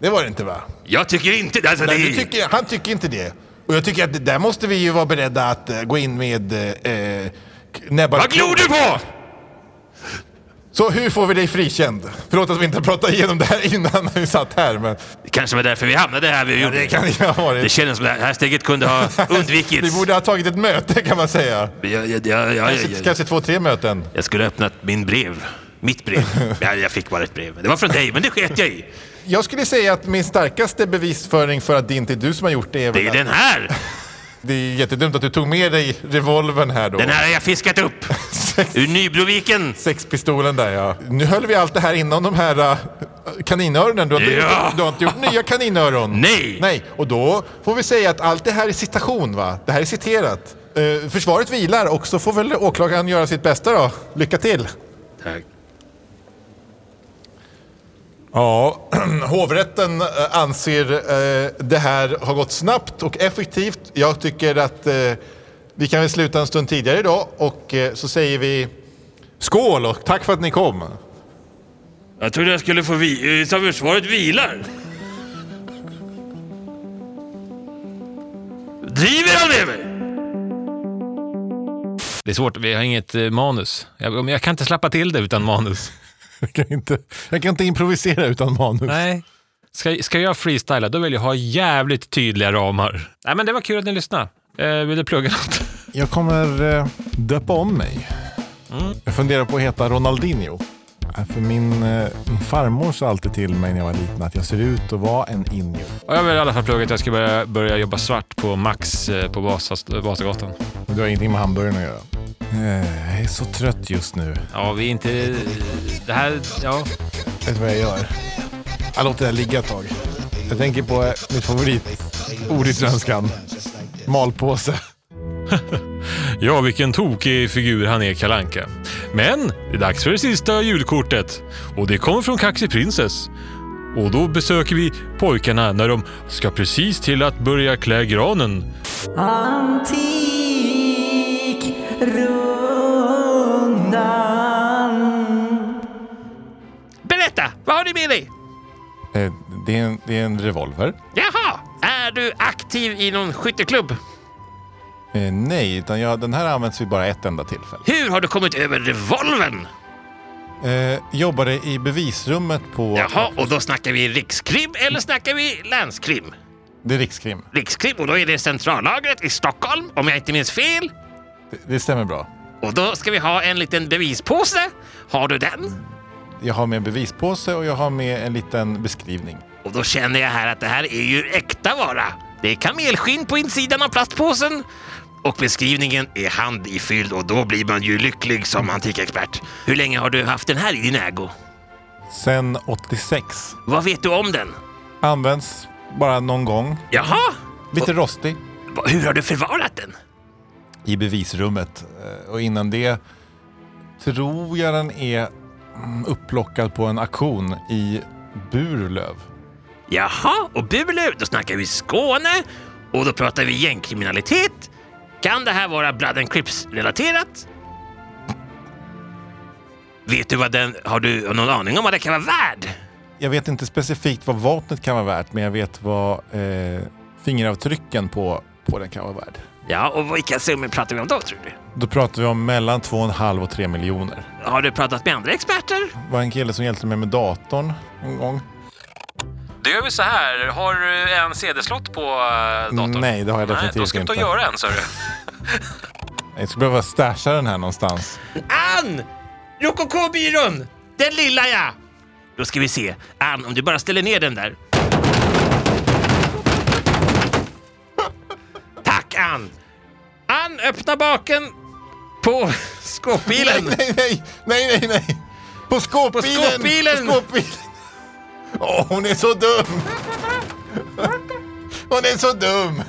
Det var det inte va?
Jag tycker inte... Alltså,
Nej,
det,
du tycker, han tycker inte det. Och jag tycker att det där måste vi ju vara beredda att eh, gå in med eh, eh, näbbar
Vad glor du på?
Så hur får vi dig frikänd? Förlåt att vi inte pratade igenom det här innan när vi satt här, men
det kanske var därför vi hamnade här. Vi gjorde.
det kan det ha varit.
det kändes som det här steget kunde ha
vi
undvikits.
borde ha tagit ett möte kan man säga.
Jag, jag, jag, jag,
Kanske,
jag,
kanske två, tre möten.
jag skulle ha öppnat min brev. Mitt brev. Ja, jag fick bara ett brev. Det var från dig, men det sket jag i.
Jag skulle säga att min starkaste bevisföring för att det inte är du som har gjort det är väl
Det är
att-
den här!
Det är jättedumt att du tog med dig revolvern här då.
Den här har jag fiskat upp. Ur Nybroviken.
Sexpistolen där ja. Nu höll vi allt det här innan de här äh, kaninöronen. Du har, inte
Ja.
gjort, du har inte gjort nya kaninöron.
Nej.
Nej, och då får vi säga att allt det här är citation va? Det här är citerat. Eh, försvaret vilar och så får väl åklagaren göra sitt bästa då. Lycka till.
Tack.
Ja, hovrätten eh, anser eh, det här har gått snabbt och effektivt. Jag tycker att eh, vi kan väl sluta en stund tidigare idag och eh, så säger vi skål och tack för att ni kom.
Jag trodde jag skulle få vi... eh, Sa försvaret vilar? Driver han med mig?
Det är svårt, vi har inget eh, manus. Jag, men jag kan inte slappa till det utan manus.
Jag kan inte, jag kan inte improvisera utan manus.
Nej. Ska, ska jag freestyla, då vill jag ha jävligt tydliga ramar. Nej, men det var kul att ni lyssnade. Eh, vill du plugga något?
Jag kommer eh, döpa om mig.
Mm.
Jag funderar på att heta Ronaldinho.
Nej, För min, eh, min farmor sa alltid till mig när jag var liten att jag ser ut att vara en inju.
Och jag vill i alla fall plugga att jag ska börja, börja jobba svart på Max eh, på Vasas, Vasagatan.
Men du har ingenting med hamburgaren att göra. Eh, Jag är så trött just nu.
Ja, vi är inte... Det här... Ja.
Vet du vad jag gör? Jag låter det här ligga ett tag. Jag tänker på eh, mitt favoritord i svenskan. Malpåse.
Ja, vilken tokig figur han är, Kalanka. Men det är dags för det sista julkortet. Och det kommer från Kaxi Princess. Och då besöker vi pojkarna när de ska precis till att börja klä granen.
Antikrundan.
Berätta, vad har du med dig?
Eh, det, är en, det är en revolver.
Jaha, är du aktiv i någon skytteklubb?
Eh, nej, utan jag, den här används vid bara ett enda tillfälle.
Hur har du kommit över revolven?
Eh, jobbade i bevisrummet på...
Jaha, och då snackar vi rikskrim eller snackar vi länskrim?
Det är Rikskrim.
Rikskrim, och då är det centrallagret i Stockholm, om jag inte minns fel.
Det, det stämmer bra.
Och då ska vi ha en liten bevispåse. Har du den?
Jag har med en bevispåse och jag har med en liten beskrivning.
Och då känner jag här att det här är ju äkta vara. Det är kamelskinn på insidan av plastpåsen. Och beskrivningen är handifylld och då blir man ju lycklig som antikexpert. Hur länge har du haft den här i din ägo?
Sen 86.
Vad vet du om den?
Används bara någon gång.
Jaha,
Lite rostig.
Va- hur har du förvarat den?
I bevisrummet. Eh, Och innan det tror jag den är mm, upplockad på en auktion i Burlöv.
Jaha, och Burlöv, då snackar vi Skåne och då pratar vi gängkriminalitet. Kan det här vara Blood and Crips-relaterat? Vet du vad den... Har du någon aning om vad den kan vara värd?
Jag vet inte specifikt vad vapnet kan vara värt, men jag vet vad eh, fingeravtrycken på, på den kan vara värd.
Ja, och vilka summor pratar vi om då, tror du?
Då pratar vi om mellan 2,5 och 3 miljoner.
Har du pratat med andra experter?
Det var en kille som hjälpte mig med datorn en gång.
Då gör vi så här. Har du en CD-slott på eh, datorn?
Nej, det har jag
Nej,
definitivt
då ska vi ta och
inte.
göra en, sa du.
Jag skulle behöva stasha den här någonstans.
Ann! Rokoko-byrån! Den lilla ja! Då ska vi se. Ann, om du bara ställer ner den där. Tack, Ann! Ann, öppna baken på skåpbilen.
Nej, nej, nej, nej, nej. På skåpbilen!
På skåpbilen!
På skåpbilen. Åh, hon är så dum! Hon är så dum!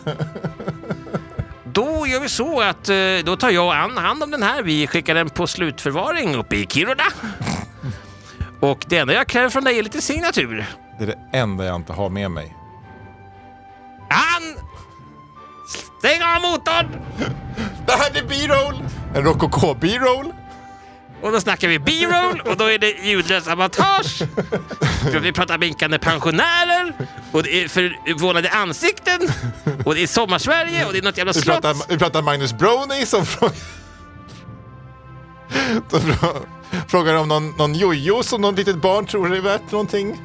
Då gör vi så att eh, då tar jag och Ann hand om den här. Vi skickar den på slutförvaring uppe i Kiruna. Och det enda jag kräver från dig är lite signatur.
Det är det enda jag inte har med mig.
Ann! Stäng av motorn!
Det här är B-roll! En rokoko B-roll?
Och då snackar vi B-roll och då är det ljudlös avantage. För Vi pratar minkande pensionärer och det är förvånade ansikten och det är sommarsverige och det är något jävla
Vi
slott.
pratar, vi pratar Magnus Browning som frågar... Som frå- frågar om någon, någon jojo som någon litet barn tror är värt någonting.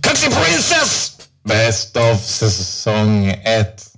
Kaxi Princess! Best of säsong ett.